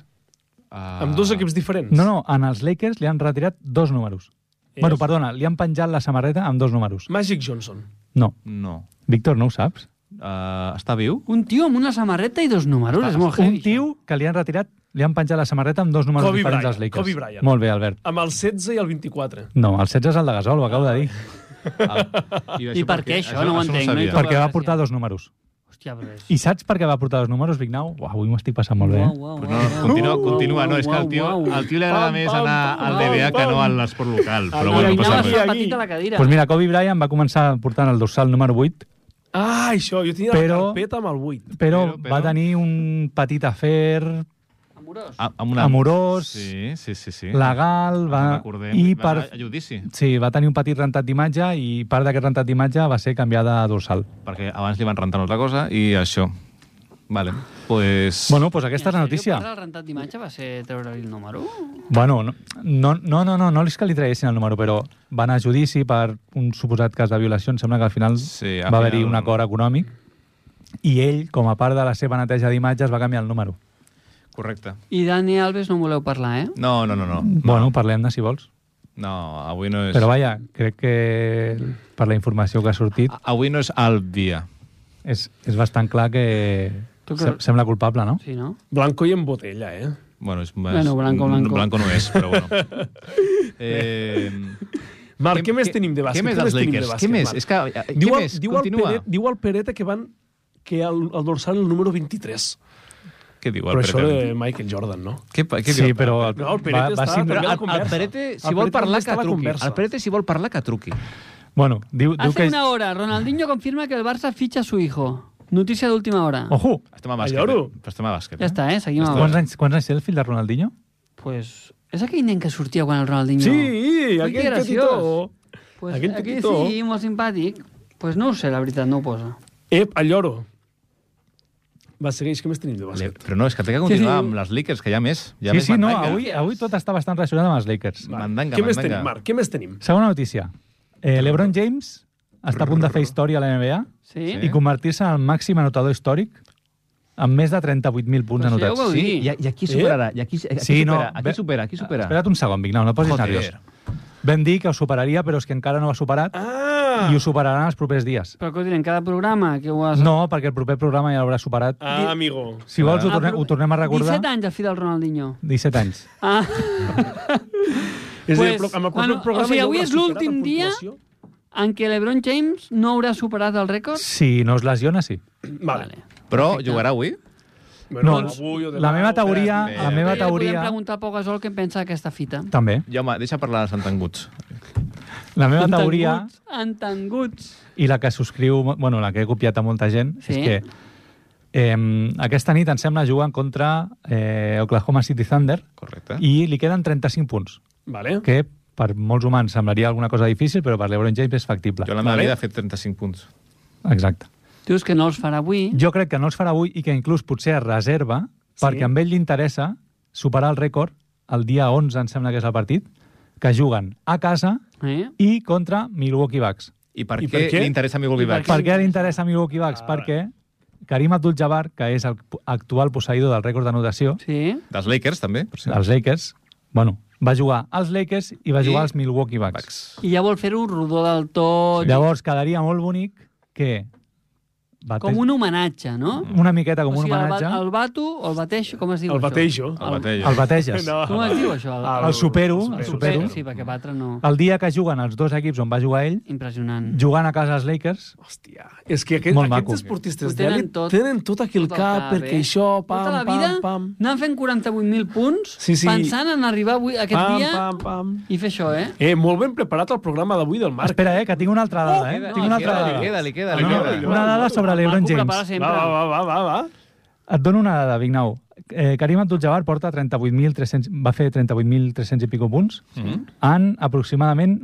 ah, Amb dos equips diferents. No, no, en els Lakers li han retirat dos números. És- Bueno, perdona, li han penjat la samarreta amb dos números. Magic Johnson. No. No. Víctor, no ho saps? Uh, està viu? Un tio amb una samarreta i dos números, és molt heavy. Un tio que li han retirat, li han penjat la samarreta amb dos números Kobe diferents Bryant, als Lakers. Kobe Bryant. Molt bé, Albert. Amb el 16 i el 24. No, el 16 és el de Gasol, ho acabo de dir. El... I per què això? No ho entenc, no? I sabia. tu- Perquè va gràcies. portar dos números. Hòstia, però és... I saps per què va portar dos números, Vignau? Uau, avui m'ho estic passant molt bé. eh? Uau, uau, Pues uau, no, uau, continua, uau, continua. No, uau, és que al tio, uau, uau. al tio li agrada Pam, més pam, anar pam, al DBA que no pam. a l'esport local. Però Ah, bueno, Ai, no, no passa anava aquí, a res. fer aquí. petita la cadira. Doncs mira, Kobe Bryant va començar portant el dorsal número 8 Ah, això, jo tenia Però- la carpeta amb el 8. però, Però, però, però- va tenir un petit afer Amorós. A- Amb una... Amorós. Sí, sí, sí. sí. legal va, Recordem, i va anar a per, judici. sí, va tenir un petit rentat d'imatge i part d'aquest rentat d'imatge va ser canviada a dorsal. Perquè abans li van rentar una altra cosa i això. Vale. pues... Bueno, doncs aquesta és la En notícia. sèrio, Petra, el rentat d'imatge va ser treure-li el número? Bueno, no, no, no, no, no, no és que li traguessin el número, però van a judici per un suposat cas de violació. Em sembla que al final Sí, al va haver-hi final- un acord econòmic i ell, com a part de la seva neteja d'imatges, va canviar el número. Correcte. I Dani Alves no en voleu parlar, eh? No, no, no, no. Bueno, parlem-ne, si vols. No, avui no és... Però vaja, crec que per la informació que ha sortit Avui no és el dia. és, és bastant clar que Tu que- se- sembla culpable, no? Sí, no? Blanco i en botella, eh? Bueno, és, Bueno, blanco, blanco. Blanco no és, però bueno. eh, Marc, què, més tenim de bàsquet? Què més dels tenim de Lakers? Què bàsquet, més? Marc? És que, eh, Diu, què al, més? diu, al Continua. Peret, diu al Pereta que van que al, al dorsal el número 23. Què diu Però el això Peret? de Michael Jordan, no? Què, pa- què diu Sí, el Peret? però el, No, el Peret està signar- també Però la el, el conversa. Perete, si El vol Perete parlar, només que està a la truqui. conversa. Eh? El Perete, si vol parlar, que truqui. Bueno, diu, diu Hace que... una hora, Ronaldinho confirma que el Barça ficha a su hijo. Notícia d'última hora. Ojo! Estem a bàsquet, bàsquet. lloro. eh? Però estem a bàsquet. Ja està, eh? Seguim amb Quants anys, quants anys té el fill de Ronaldinho? Pues, és aquell nen que sortia quan el Ronaldinho... Sí, Ui, que aquell graciós. petitó. Pues, Aquell aquell aquell petitó. sí, molt simpàtic. Pues no ho sé, la veritat, no ho posa. Ep, el lloro. Va, segueix, què més tenim de bàsquet? Però no, és que té Sí, que sí. continuar amb les Lakers, que hi ha més. Hi ha sí, més sí, no, mandanga. avui, avui tot està bastant relacionat amb els Lakers. Va. Mandanga, què més mandanga. tenim, Marc? Què més tenim? Segona notícia. Eh, L'Ebron James està a punt de fer història a la NBA Sí? i convertir-se en el màxim anotador històric amb més de 38.000 Pues punts sí, ho anotats. veu dir. Sí, i, a- i aquí superarà. I aquí, aquí Sí, no, supera, ve- aquí supera, aquí supera. Espera't un segon, Vignau, no posis Joder. nerviós. Vam dir que ho superaria, però és que encara no ho ha superat Ah! i ho superaran els propers dies. Però que ho direm, cada programa que ho has... No, perquè el proper programa ja l'haurà superat. Ah, amigo. Si vols, ho Ah, tornem, però- ho tornem a recordar. 17 anys, el fill del Ronaldinho. 17 anys. Ah, És a dir, Pues, amb el bueno, proper programa o sigui, ja avui haurà és l'últim superat en dia. puntuació? en què l'Ebron James no haurà superat el rècord? Si no es lesiona, sí. Vale. Però jugarà avui? Bueno, No, avui o demà la meva o teoria... demà. La meva Li podem teoria... preguntar a Pogasol què en pensa d'aquesta fita. També. Ja, home, deixa parlar els entenguts. La meva teoria... Entenguts, entenguts. i la que subscriu, bueno, la que he copiat a molta gent, Sí. és que eh, aquesta nit em sembla jugant contra eh, Oklahoma City Thunder Correcte. i li queden 35 punts, Vale. que per molts humans semblaria alguna cosa difícil, però per l'Ebron James és factible. Jo a la meva Vale. vida he fet 35 punts. Exacte. Dius que no els farà avui. Jo crec que no els farà avui i que inclús potser es reserva Sí. sí. perquè amb ell li interessa superar el rècord el dia 11, em sembla que és el partit, que juguen a casa Eh? i contra Milwaukee Bucks. I per, I què, per què? li interessa a mi Goldie Per què li interessa a Milwaukee Bucks? Ah, Perquè Karim Abdul-Jabbar, que és el actual posseïdor del rècord d'anotació Sí. Dels Lakers, també. Per cert. dels Lakers, bueno, va jugar als Lakers i va I jugar als Milwaukee Bucks. Bucks. I ja vol fer-ho rodó del tot. Llavors, quedaria molt bonic que... Bate... Com un homenatge, no? Una miqueta com o un sigui, homenatge. El, ba- el bato o el bateixo, com es diu El això? batejo. El batejo. El bateges. No. Com es diu això? El- El supero, el supero. Sí, perquè batre no... El dia que juguen els dos equips on va jugar ell, Impressionant. jugant a casa als Lakers, Hòstia, és que aquest, Molt aquests maco. esportistes Ho tenen d'elit tot- tenen tot aquí el tot al cap, cap, perquè eh? això, pam, Tota la pam, vida pam, anant fent 48.000 punts, Sí, sí. pensant en arribar avui, aquest pam, dia pam, pam. i fer això, eh? Eh, molt ben preparat el programa d'avui del Marc. Espera, eh, que tinc una altra dada, eh? Tinc una altra Queda, li dada. queda, li queda, li No, queda. no, una dada sobre l'Ebron Marco, prepara James. sempre. Va, va, va, va, va. Et dono una dada, Vignau. Eh, Karim Abdul-Jabbar porta 38.300... Va fer 38.300 i pico punts Mhm. en aproximadament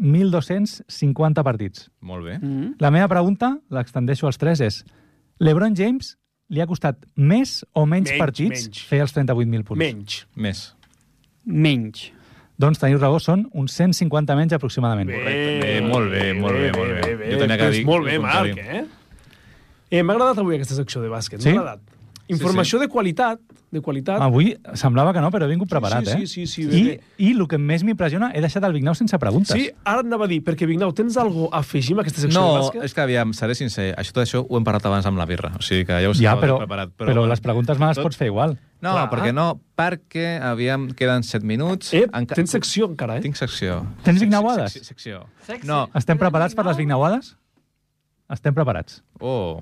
1.250 partits. Molt bé. Mm. La meva pregunta, l'extendeixo als tres, és l'Ebron James li ha costat més o menys, Menys, partits menys. fer els 38.000 punts? Menys. Més. Menys. Doncs teniu raó, són uns 150 menys aproximadament. Correcte. Bé, molt bé, molt bé, molt bé. Jo tenia que dir... Molt bé, el contrari. Marc, eh? eh M'ha agradat avui aquesta secció de bàsquet, Sí? m'ha agradat. Informació de qualitat, de qualitat. Avui semblava que no, però he vingut preparat, sí, eh? sí, sí, sí, bé, I, I el que més m'impressiona, he deixat el Vignau sense preguntes. Sí, ara anava a dir, perquè Vignau, tens alguna cosa a afegir amb aquesta secció de No, bàsquet? és que aviam, seré sincer, això tot això ho hem parlat abans amb la birra, o sigui que ja ho Ja, estava però, tot preparat. però, però les preguntes me les tot- pots fer igual. No, Clar. perquè no, perquè aviam, queden 7 minuts. Eh, enca- tens secció encara, eh? Tinc secció. Tens Sec- vignauades? sec- Secció. Sexy. No, Estem preparats per les Vignauades? Estem preparats. oh,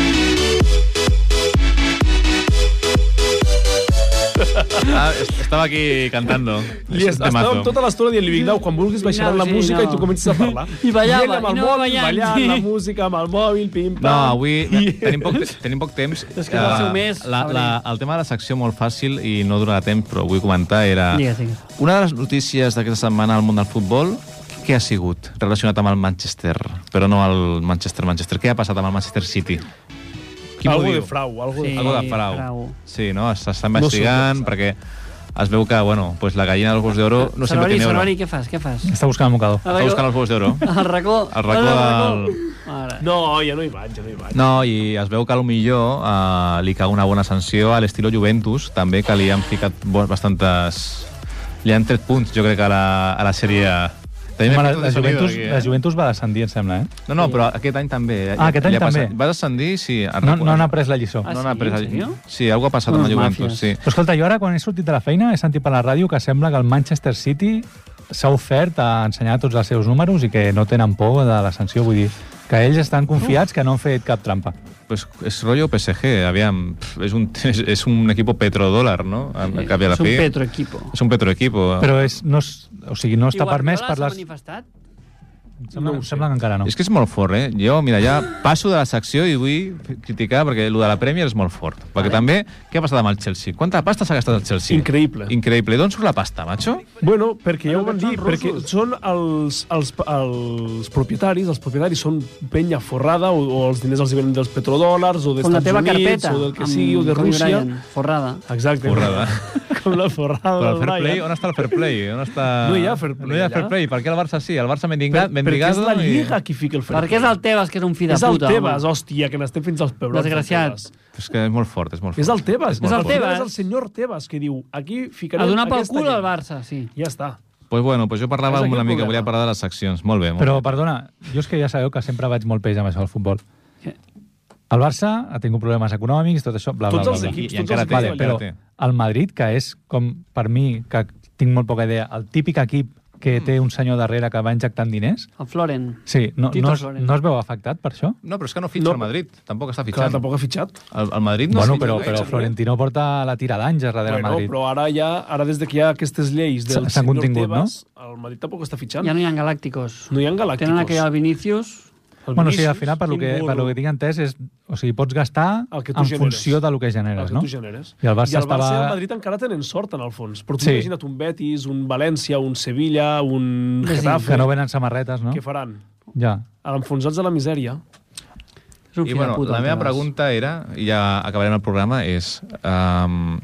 a Estaba, estaba ah, aquí cantando. Li Es un estàvem temazo. tota l'estona dient-li, Vignau, quan vulguis baixarem la Vignau, sí, música i tu no. comences a parlar. I ballava, ell amb i el no mòbil, ballant, ballant, sí. la música amb el mòbil, pim-pam. No, avui tenim poc, te- tenim poc temps. És que és el Eh, seu mes, La, la, el tema de la secció molt fàcil i no durarà temps, però vull comentar era... Digues, digues. Una de les notícies d'aquesta setmana al món del futbol, què ha sigut relacionat amb el Manchester? Però no el Manchester-Manchester. Què ha passat amb el Manchester City? Qui m'ho algo de diu? frau, algo de Sí. frau. Algo de frau. frau. Sí, no? S'està No investigant sé, perquè es veu que, bueno, pues la gallina dels huevos d'oro no sempre Sarori, tiene oro. Sarori, què fas, què fas? Està buscant el mocador. A Està buscant els huevos d'oro. el racó. El racó Ara, del- Mare. No, ja no hi vaig, ja no hi vaig. No, i es veu que potser eh, li cau una bona sanció a l'estil Juventus, també, que li han ficat bo- bastantes... Li han tret punts, jo crec, a la, a la sèrie... També m'he Home, la, ficat la, de sonido, Juventus, aquí, eh? la Juventus va descendir, em sembla, eh? No, no, però aquest any també. eh? Ah, aquest any Li ha passat- també. Va descendir, sí. et No, reconec. no han après la lliçó. Ah, no n'ha sí? pres En el- serio? Sí, algo ha passat amb la Unes Juventus, màfies. sí. Però escolta, jo ara quan he sortit de la feina he sentit per la ràdio que sembla que el Manchester City s'ha ofert a ensenyar tots els seus números i que no tenen por de la sanció, vull dir que ells estan confiats que no han fet cap trampa. Pues es rollo PSG, aviam, pf, és un, és, és un equipo petrodòlar, no? A, a cap i a la És un fi. petroequipo. És un petroequipo. Però és, no, és, o sigui, no està permès per les... manifestat? Em Sembla, em sembla que encara no. És que és molt fort, eh? Jo, mira, ja passo de la secció i vull criticar perquè el de la Premier és molt fort. Perquè també, què ha passat amb el Chelsea? Quanta pasta s'ha gastat el Chelsea? Increïble. Increïble. D'on surt la pasta, macho? Bueno, perquè ja ho van són dir, perquè són els, els, els propietaris, els propietaris són penya forrada o, o els diners els venen dels petrodòlars o dels Com la Estats teva Units carpeta. o del que amb sigui o de Kobe Rússia. Bryant, Forrada. Exacte. Forrada. Com la forrada Però el del fair play, Bayern. on està el fair play? On està... No hi ha fair play, No hi ha allà. fair play. Per què el Barça sí? El Barça Per, mendiga, perquè és mendigado... la i- Lliga qui fica el fair Perquè és el Tebas, que és un fill de És el puta. Tebas, home. hòstia, que n'estem fins als pebrots. Desgraciat. del Tebas. És que és molt fort, és molt fort. És el Tebas. És molt el fort. Tebas. És el senyor Tebas que diu, aquí ficarem A donar pel aquesta cul al gent. Barça, sí. Ja està. Pues bueno, pues jo parlava És aquí amb una el mica, problema. volia parlar de les seccions. Molt bé, molt Però, bé. perdona, jo és que ja sabeu que sempre vaig molt peix amb això del futbol. Què? El Barça ha tingut problemes econòmics, tot això, bla, bla, Tots bla. els bla. equips, I tots encara els té, equips Vale, encara però té. el Madrid, que és com, per mi, que tinc molt poca idea, el típic equip que Mm. té un senyor darrere que va injectant diners, El Floren. sí, no, Tito no, es, Flores. no es veu afectat per això? No, però és que no fitxa No. el Madrid. Tampoc està Clar, fitxant. tampoc ha fitxat. El, el Madrid no No bueno, fitxa però, gaire, però no? Florentino porta la tira d'anys darrere del Bueno, Madrid. però ara ja, ara des de que hi ha aquestes lleis del S'han senyor contingut, Tebas, el Madrid tampoc està fitxant. Ja no hi ha galàcticos. No hi ha galàcticos. Tenen aquell al Vinícius. El Bueno, sí, Vinícius, al final, per lo quin que, per lo burro. que tinc entès, és, o sigui, pots gastar El que tu en generes. funció del que El generes, que no? tu generes. I el Barça I el Barça i estava- el Madrid encara tenen sort, en el fons. Però tu Sí. sí. imagina't un Betis, un València, un Sevilla, un Getafe... Que no venen samarretes, no? Què faran? Ja. Enfonsats a la misèria. És un fill I bueno, de puta. la el meva Tebas. pregunta era, i ja acabarem el programa, és... Um,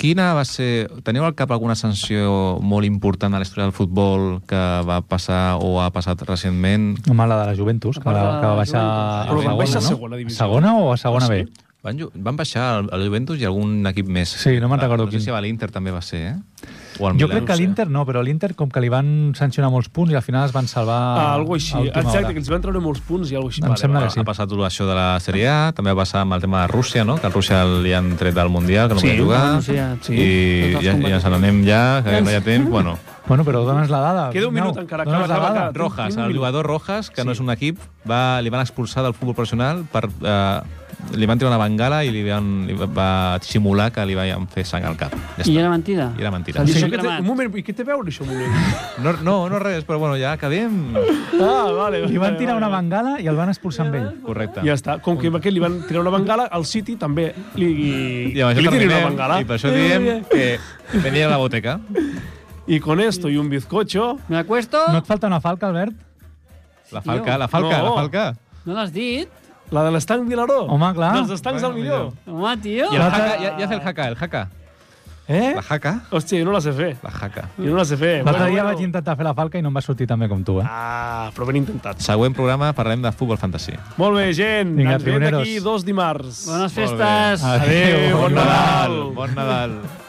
quina va ser... Teniu al cap alguna sanció molt important a la història del futbol que va passar o ha passat recentment? Home, la de la Juventus, que, part la, de la que va baixar Juventus. Però a van baixar a no? segona divisió. Ah, Segona o a segona B? Van, ju- van baixar el, el Juventus i algun equip més. Ah, Sí, no me'n Ah, recordo No sé quin. si a l'Inter també va ser, eh? O al Jo Milan. crec que l'Inter no, però l'Inter com que li van sancionar molts punts i al final es van salvar Ah, algo a així. última Exacte, hora. que ens van treure molts punts i algo així. Em sembla que sí. Ha passat això de la Sèrie A, també va passar amb el tema de Rússia, no? que el Rússia li han tret del Mundial, que no Sí, podia jugar, bueno, sí, ja, sí. i Tots els ja, ja combatents. se n'anem ja, que no hi ha temps, bueno. Bueno, però dones la dada. Queda un Nau, minut encara, dones acaba, la acaba, dada. acaba. Rojas, el jugador Rojas, que sí. no és un equip, va, li van expulsar del futbol professional per... Eh, li van tirar una bengala i li van, li va, va simular que li van fer sang al cap. I Ja està. era mentida? I era mentida. Se'l I deixa això que té, cremat. un moment, i què té a veure això amb un No, no, no res, però bueno, ja acabem. Ah, vale. Li van vale, tirar vale, una vale. bengala i el van expulsar amb ell. Correcte. Ja està. Com que amb aquest li van tirar una bengala, al City també li, I amb li això tirin una terminem, bengala. Eh, i per això diem que venia a la boteca. I con esto y un bizcocho... Me acuesto? No No, et falta una falca, Albert? La falca, la falca, No. la falca. l'has dit? La de l'estanc Vilaró. Home, clar. Dels estancs Bueno, al millor. millor. Home, tio. I el jaca, ja, ja hace el jaca, el jaca. Eh? La jaca, Hòstia, jo no la sé fer. la jaca. Jo no la sé fer. L'altre dia vaig intentar fer la falca i no em va sortir tan bé com tu, eh? Ah, però ben intentat. Següent programa parlem de futbol fantasy. Molt bé, gent. Vinga, Ens veiem d'aquí pioneros. dos dimarts. Ah, Bones Molt bé. festes. Adéu, bon Nadal. Bon Nadal.